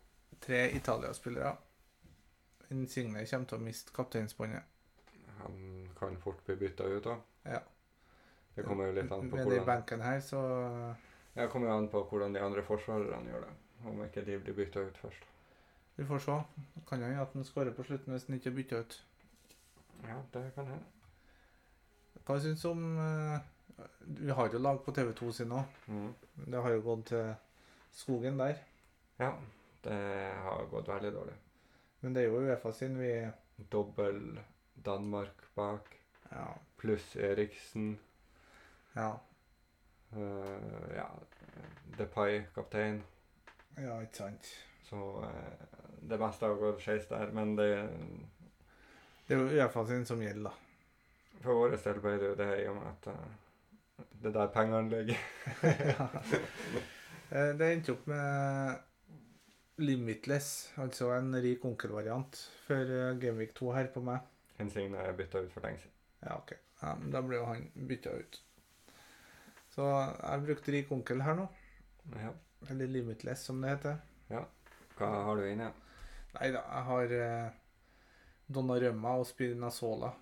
tre Italia-spillere. Insigne kommer til å miste kapteinsbåndet.
Han kan fort bli bytta ut, da.
Ja.
Det kommer jo litt an på
Men i
hvordan,
benken her, så
ja, det kommer jo an på hvordan de andre forsvarerne gjør det. Om ikke de blir bytta ut først.
vi får se. Kan jo hende at han skårer på slutten hvis han ikke bytter ut.
Ja, det kan hende.
Hva syns du om eh, Vi har jo lag på TV2 sin òg.
Mhm.
Det har jo gått til skogen der.
Ja, det har gått veldig dårlig.
Men det er jo Uefa sin vi
Dobbel Danmark bak,
Ja.
pluss Eriksen.
Ja,
eh, ja, Depay, kaptein.
ja ikke sant.
Så eh, det meste har gått skeis der, men det,
Det er jo Uefa sin som gjelder, da.
for vår del ble det jo det i og med at eh, det er der pengene ligger.
Eh, Det endte opp med Limitless, altså en rik onkel-variant, for eh, Gameweek 2 her på meg.
Hensigne er bytta ut for lenge siden.
Ja, ok. Ja, men da ble jo han bytta ut. Så jeg brukte rik onkel her nå.
Ja.
Eller Limitless, som det heter.
Hva har du inne?
Nei da, jeg har eh, Donnarumma og Spinazzola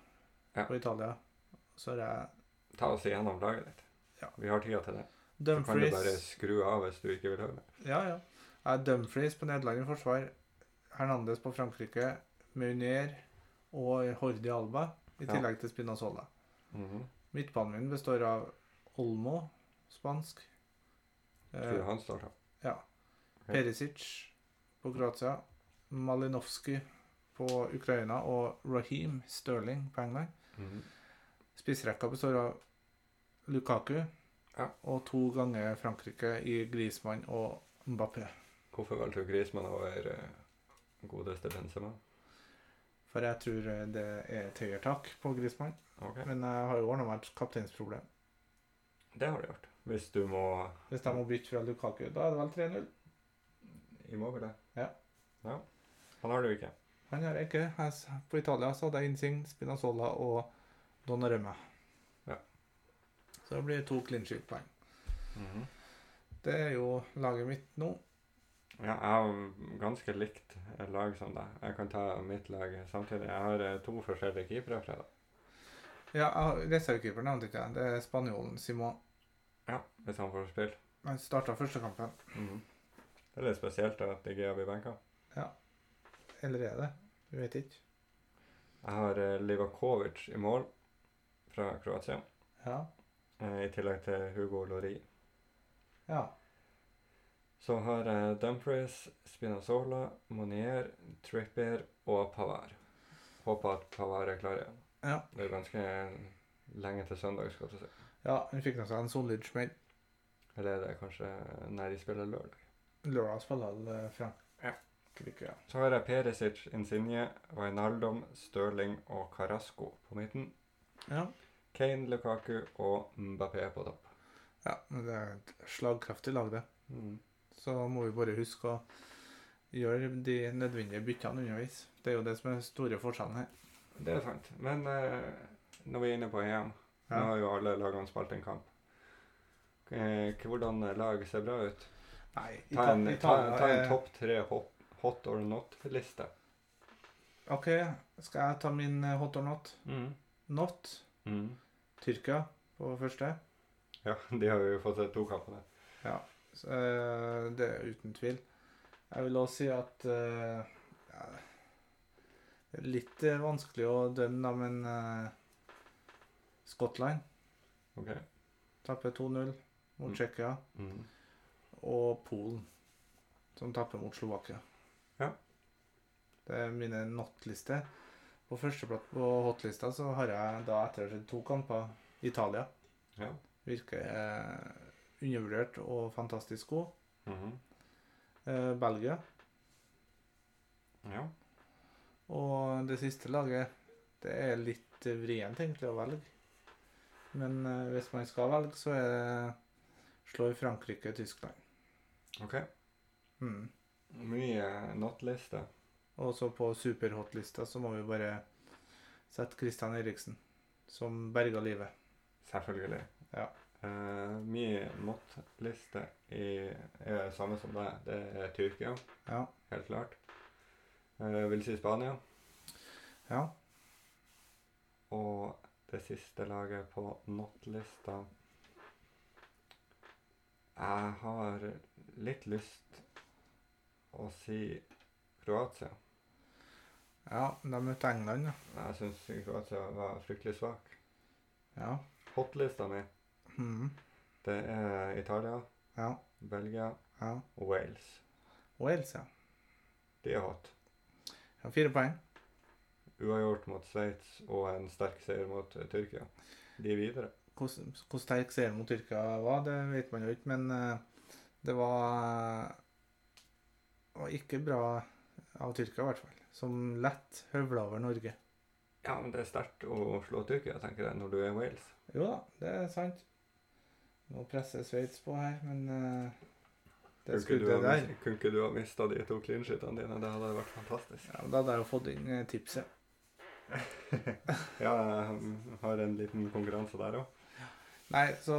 Ja.
på Italia. Så har jeg
Ta oss igjennom laget ditt.
Ja.
Vi har tida til det. Så kan du bare
Dumfries.
skru av hvis du ikke vil høre det.
Ja, ja. Jeg har Dumfries på Nederland i forsvar. Hernandez på Frankrike. Meunier og Hordi Alba, i
Ja.
tillegg til Spinazzola.
Mhm.
Midtbanen min består av Olmo, spansk.
Tror
Eh,
du han starter?
Perisic på Kroatia, Malinovskij på Ukraina og Raheem Sterling på England.
Mhm.
Spissrekka består av Lukaku
Ja.
og to ganger Frankrike i Griezmann og Mbappé.
Hvorfor valgte du Griezmann over eh, godeste Benzema?
For jeg tror eh, det er et høyere tak på Griezmann.
Ok,
Men jeg har jo ordna meg et kapteinsproblem.
Det har du gjort. Hvis du må
Hvis de må bytte fra Lukaku, da er det vel 3-0.
i mål, det.
Ja.
ja. Han har du ikke.
Han gjør jeg ikke. Jeg s- På Italia så hadde jeg Insign, Spinazzola og Donnarumma.
Ja.
Så det blir to clean sheet-poeng. Det er jo laget mitt nå.
Ja, jeg har ganske likt lag som deg. Jeg kan ta mitt lag samtidig. Jeg har eh, to forskjellige keepere fra deg.
Ja, jeg har- Reservekeeper nevnte ikke jeg. Det er spanjolen Simon.
Ja, hvis han får spille.
Han starta første kampen.
Det er litt spesielt at De Gea blir benka.
Eller er det? Vi vet ikke.
Jeg har eh, Livakovic i mål fra Kroatia,
Ja.
eh, i tillegg til Hugo Lori.
ja.
Så har jeg Dumfries, Spinazzola, Monier, Trippier og Pavar. Håper at Pavar er klar igjen.
Ja.
Det er ganske lenge til søndag, skal du si.
Ja, Han fikk nå seg en solid smell.
Eller er det kanskje når de spiller lørdag?
Laura spiller vel
Ja.
Frankrike. Ja.
Så har jeg Perisic, Insigne, Wijnaldum, Stirling og Carasco på midten.
ja.
Kane, Lukaku og Mbappé på topp.
ja. Men det er et slagkraftig lag, det.
Mm.
Så må vi bare huske å gjøre de nødvendige byttene underveis. Det er jo det som er den store forskjellen her.
Det er sant. Men eh, når vi er inne på EM, nå
Ja.
har jo alle lagene spilt en kamp. Eh, hvordan lag ser bra ut?
Nei,
Ta en,
Ita-
ta, ta en
er-
topp tre hop- hot or not-liste.
OK, skal jeg ta min eh, hot or not? Not Tyrkia på første.
Mm. Ja, de har jo fått sett to kampene.
Så, eh, det er uten tvil. Jeg vil også si at eh, ja, det er Litt eh, vanskelig å dømme, da, men eh, Skottland
Ok.
tapper 2-0 mot
Mm.
Tsjekkia. Og Polen, som tapper mot Slovakia.
Ja.
Det er mine not-lister. På førsteplass på hot-lista så har jeg da etter å ha sett to kamper Italia.
Ja.
Virker eh, undervurdert og fantastisk god.
Mhm.
Eh, Belgia.
Ja.
Og det siste laget, det er litt eh, vrient egentlig å velge. Men eh, hvis man skal velge, så er det slår Frankrike Tyskland.
Ok.
Mm.
Mye not-liste.
Og så på superhot-lista så må vi bare sette Christian Eriksen, som berga livet.
Selvfølgelig.
Ja.
Eh, mye not-liste i- er det samme som deg. Det er Tyrkia,
Ja.
helt klart. Eh, vil si Spania.
ja.
Og det siste laget på not-lista Jeg har litt lyst å si Kroatia.
Ja, de møtte England, ja.
Jeg syns Kroatia var fryktelig svak.
Ja.
Hotlista mi,
Mhm.
det er Italia,
ja.
Belgia
ja.
og Wales.
Wales, ja.
De er hot.
ja. Fire poeng.
Uavgjort mot Sveits og en sterk seier mot eh, Tyrkia. De er videre.
Hvor hvor sterk seieren mot Tyrkia var, det vet man jo ikke, men eh, det var, eh, var ikke bra av Tyrkia, i hvert fall. Som lett høvla over Norge.
Ja, men det er sterkt å slå Tyrkia, tenker jeg, når du er Wales.
Jo da, det er sant. Nå presser Sveits på her, men eh, det
Kunne ikke du ha
skuddet der
mis- Kunne ikke du ha mista de to clean-sheetene dine? Det hadde vært fantastisk.
Ja, men Da hadde jeg jo fått inn eh, tipset.
Ja, jeg har en liten konkurranse der òg.
Nei, så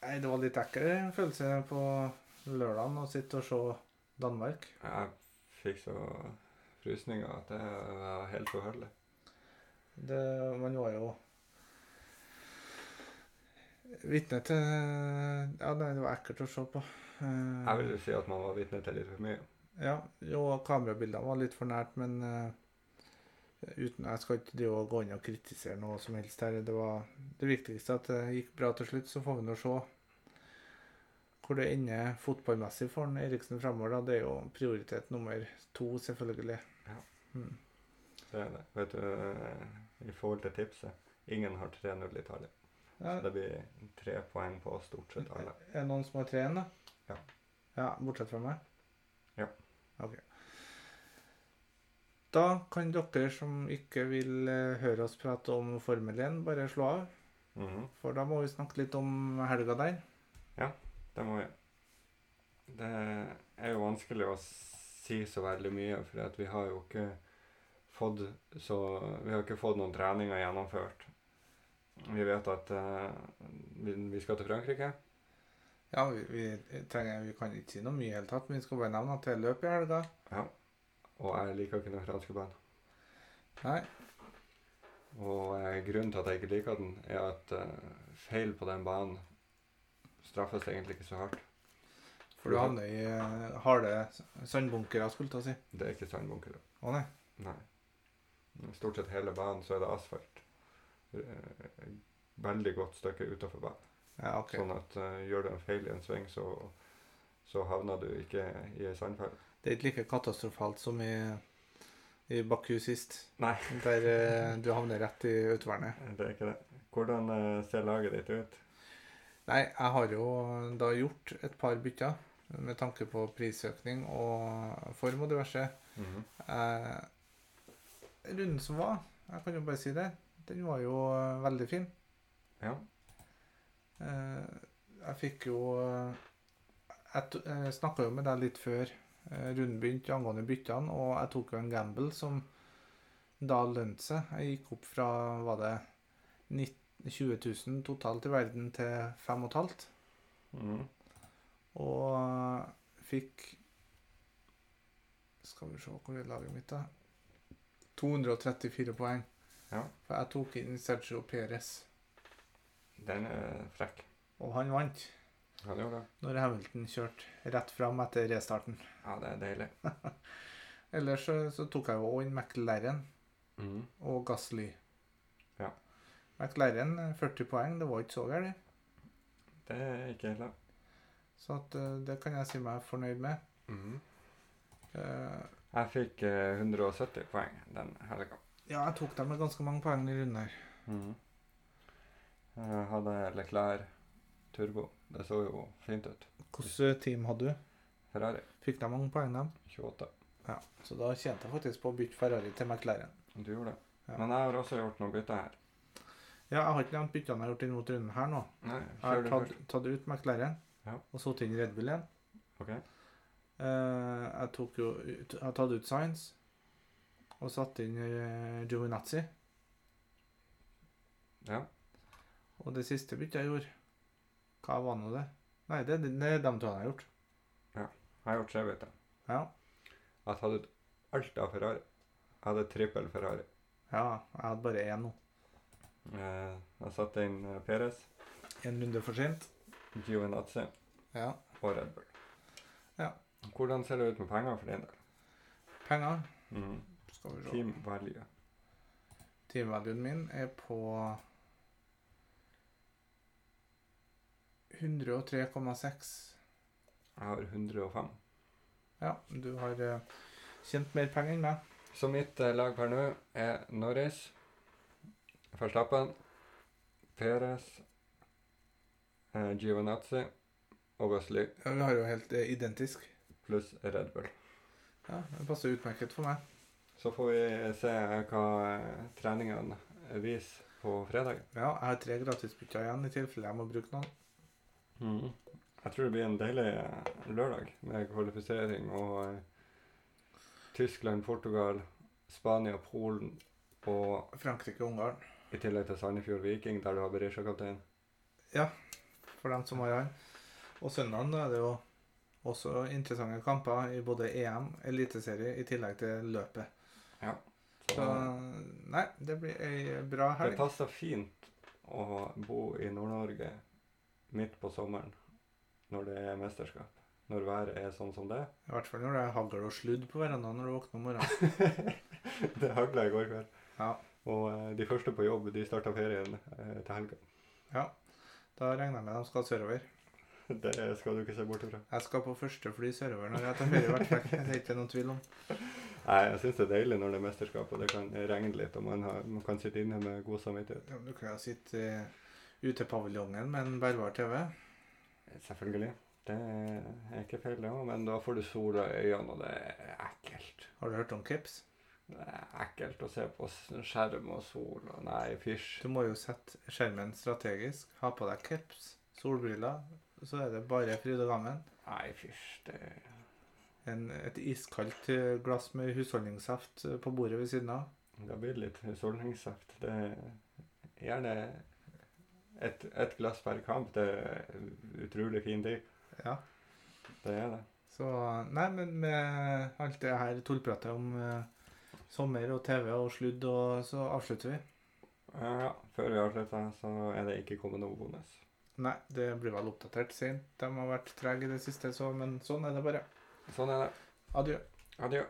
Nei, det var litt ekkel følelse på lørdagen å sitte og se Danmark.
Jeg fikk så frysninger at det var helt forferdelig.
Det, man var jo vitne til Ja, nei, det var ekkelt å se på. Eh,
Jeg vil jo si at man var vitne til litt for mye.
Ja, jo, kamerabildene var litt for nært, men eh, uten, jeg skal ikke drive og gå inn og kritisere noe som helst her. Det var det viktigste at det gikk bra til slutt, så får vi nå se hvor det ender fotballmessig for han Eriksen fremover. Da. Det er jo prioritet nummer to, selvfølgelig. Mm.
Det er det. Vet du, eh, I forhold til tipset ingen har 3-0 i Italia.
Ja,
Så det blir tre poeng på stort sett alle.
er det noen som har treen, da?
Ja.
Ja, Bortsett fra meg?
Ja.
Ok. Da kan dere som ikke vil eh, høre oss prate om Formel 1, bare slå av.
Mhm.
For da må vi snakke litt om helga der.
Det må vi. Det er jo vanskelig å si så veldig mye, for at vi har jo ikke fått så Vi har ikke fått noen treninger gjennomført. Vi vet at eh, vi, vi skal til Frankrike.
Ja, vi, vi, trenger, vi kan ikke si noe mye i hele tatt, men vi skal bare nevne at det er løp i helga.
Og jeg liker ikke den franske band.
Nei,
Og eh, grunnen til at jeg ikke liker den, er at eh, feil på den banen straffes egentlig ikke så hardt.
for du havner i eh, harde sandbunkere, skulle jeg til å si.
Det er ikke sandbunker.
Å nei.
Nei. Stort sett hele banen så er det asfalt. Eh, Veldig godt stykke utafor banen.
Ja, ok.
Sånn at eh, gjør du en feil i en sving, så, så havner du ikke i ei sandfelle.
Det er ikke like katastrofalt som i, i Baku sist.
Nei.
Der eh, du havner rett i utvernet.
Det er ikke det. Hvordan eh, ser laget ditt ut?
Nei, jeg har jo da gjort et par bytter med tanke på prisøkning og form og diverse.
Mhm.
Eh, runden som var, jeg kan jo bare si det, den var jo eh, veldig fin.
Ja.
Eh, jeg fikk jo eh, Jeg, to- jeg snakka jo med deg litt før eh, runden begynte angående byttene, og jeg tok jo en gamble som da lønte seg. Jeg gikk opp fra var det 19 20 000 totalt i verden til 5,5.
Mhm.
Og eh, fikk Skal vi se hvor er laget mitt, da. 234 poeng.
Ja.
For jeg tok inn Sergio Perez,
Den er frekk.
og han vant
Han gjorde det.
når Hamilton kjørte rett fram etter restarten.
Ja, det er deilig.
Ellers så, så tok jeg jo også inn McLaren
Mhm.
og Gasly.
Ja.
McLaren eh, 40 poeng, det var ikke så galt.
Det er ikke helt det.
Så at, eh, det kan jeg si meg fornøyd med.
Mhm.
Eh,
Jeg fikk eh, 170 poeng den helga.
ja, jeg tok dem med ganske mange poeng i runden her.
Mhm. Jeg hadde Leclerc turbo. Det så jo fint ut.
Hvilket team hadde du?
Ferrari
Fikk de mange poeng, dem?
28.
Ja, så da tjente jeg faktisk på å bytte Ferrari til McLaren.
Du gjorde det.
Ja.
Men jeg har også gjort noe bytte her.
Ja, jeg har ikke nevnt byttene jeg har gjort inn mot runden her nå.
Nei,
Jeg
kjør du
har tatt,
Eh, først.
tatt ut McLaren
Ja.
og satt inn Red Bull igjen.
Ok.
Eh, jeg tok jo ut, jeg har tatt ut Sainz og satt inn uh, Giovinazzi.
Ja.
Og det siste byttet jeg gjorde, hva var nå det? Nei, det, det, det er de to jeg har gjort.
Jeg har gjort tre bytter.
Ja,
Jeg har tatt ut alt av Ferrari. Jeg hadde trippel Ferrari.
ja jeg hadde bare én nå.
Eh, Jeg satte inn eh, Perez,
En runde for sent.
Giovinazzi
Ja.
og Red Bull.
Ja.
Hvordan ser det ut med penger for din del?
Penger.
Mm.
Skal vi se.
Team value.
Timeverdien min er på 103,6.
Jeg har 105.
Ja, du har eh, tjent mer penger enn meg.
Så mitt eh, lag per nå er Norris, Verstappen, Perez, eh, Giovinazzi og Gasly
Ja, vi har jo helt eh, identisk.
pluss Red Bull.
Ja, Det passer utmerket for meg.
Så får vi se hva eh, treningene viser på fredag.
Ja, jeg har tre gratisbytter igjen i tilfelle jeg må bruke noen.
Jeg tror det blir en deilig eh, lørdag med kvalifisering og eh, Tyskland, Portugal, Spania, Polen og
Frankrike og Ungarn.
i tillegg til Sandefjord Viking, der du har Berisha-kaptein.
for dem som har han. Og søndagen da er det jo også interessante kamper i både EM, eliteserie, i tillegg til løpet. Så nei, det blir ei bra
det
helg.
passer fint å bo i Nord-Norge midt på sommeren når det er mesterskap. Når været er sånn som det.
I hvert fall når det er hagl og sludd på verandaen når du våkner om morgenen.
det hagla i går kveld.
Ja.
Og eh, de første på jobb de starta ferien eh, til helga.
Da regner jeg med de skal sørover.
Det skal du ikke se bort ifra.
Jeg skal på første fly sørover når jeg tar ferie, i hvert fall. Det er ikke noen tvil om.
Nei, jeg syns det er deilig når det er mesterskap og det kan regne litt, og man, har, man kan sitte inne med god samvittighet.
Ja, men Du kan jo sitte eh, i utepaviljongen med en bærbar TV.
Selvfølgelig. Det er ikke feil, det òg, men da får du sola i øynene, og det er ekkelt.
Har du hørt om caps?
Det er ekkelt å se på s- skjerm og sol og Nei, fysj.
Du må jo sette skjermen strategisk. Ha på deg caps, solbriller, så er det bare fryd og gammen.
Nei, fysj. Det
En, et iskaldt eh, glass med husholdningssaft eh, på bordet ved siden av.
Da blir det litt solningssaft. Det er gjerne et, et glass per kamp. Det er utrolig fin tid.
Ja.
Det er det.
Så Nei, men med alt det her tullpratet om eh, sommer og TV og sludd, og så avslutter vi.
Ja, før vi avslutter, så er det ikke kommet noe bonus.
Nei, det blir vel oppdatert sent. De har vært trege i det siste, så, men sånn er det bare.
Sånn er det.
Adjø.
Adjø.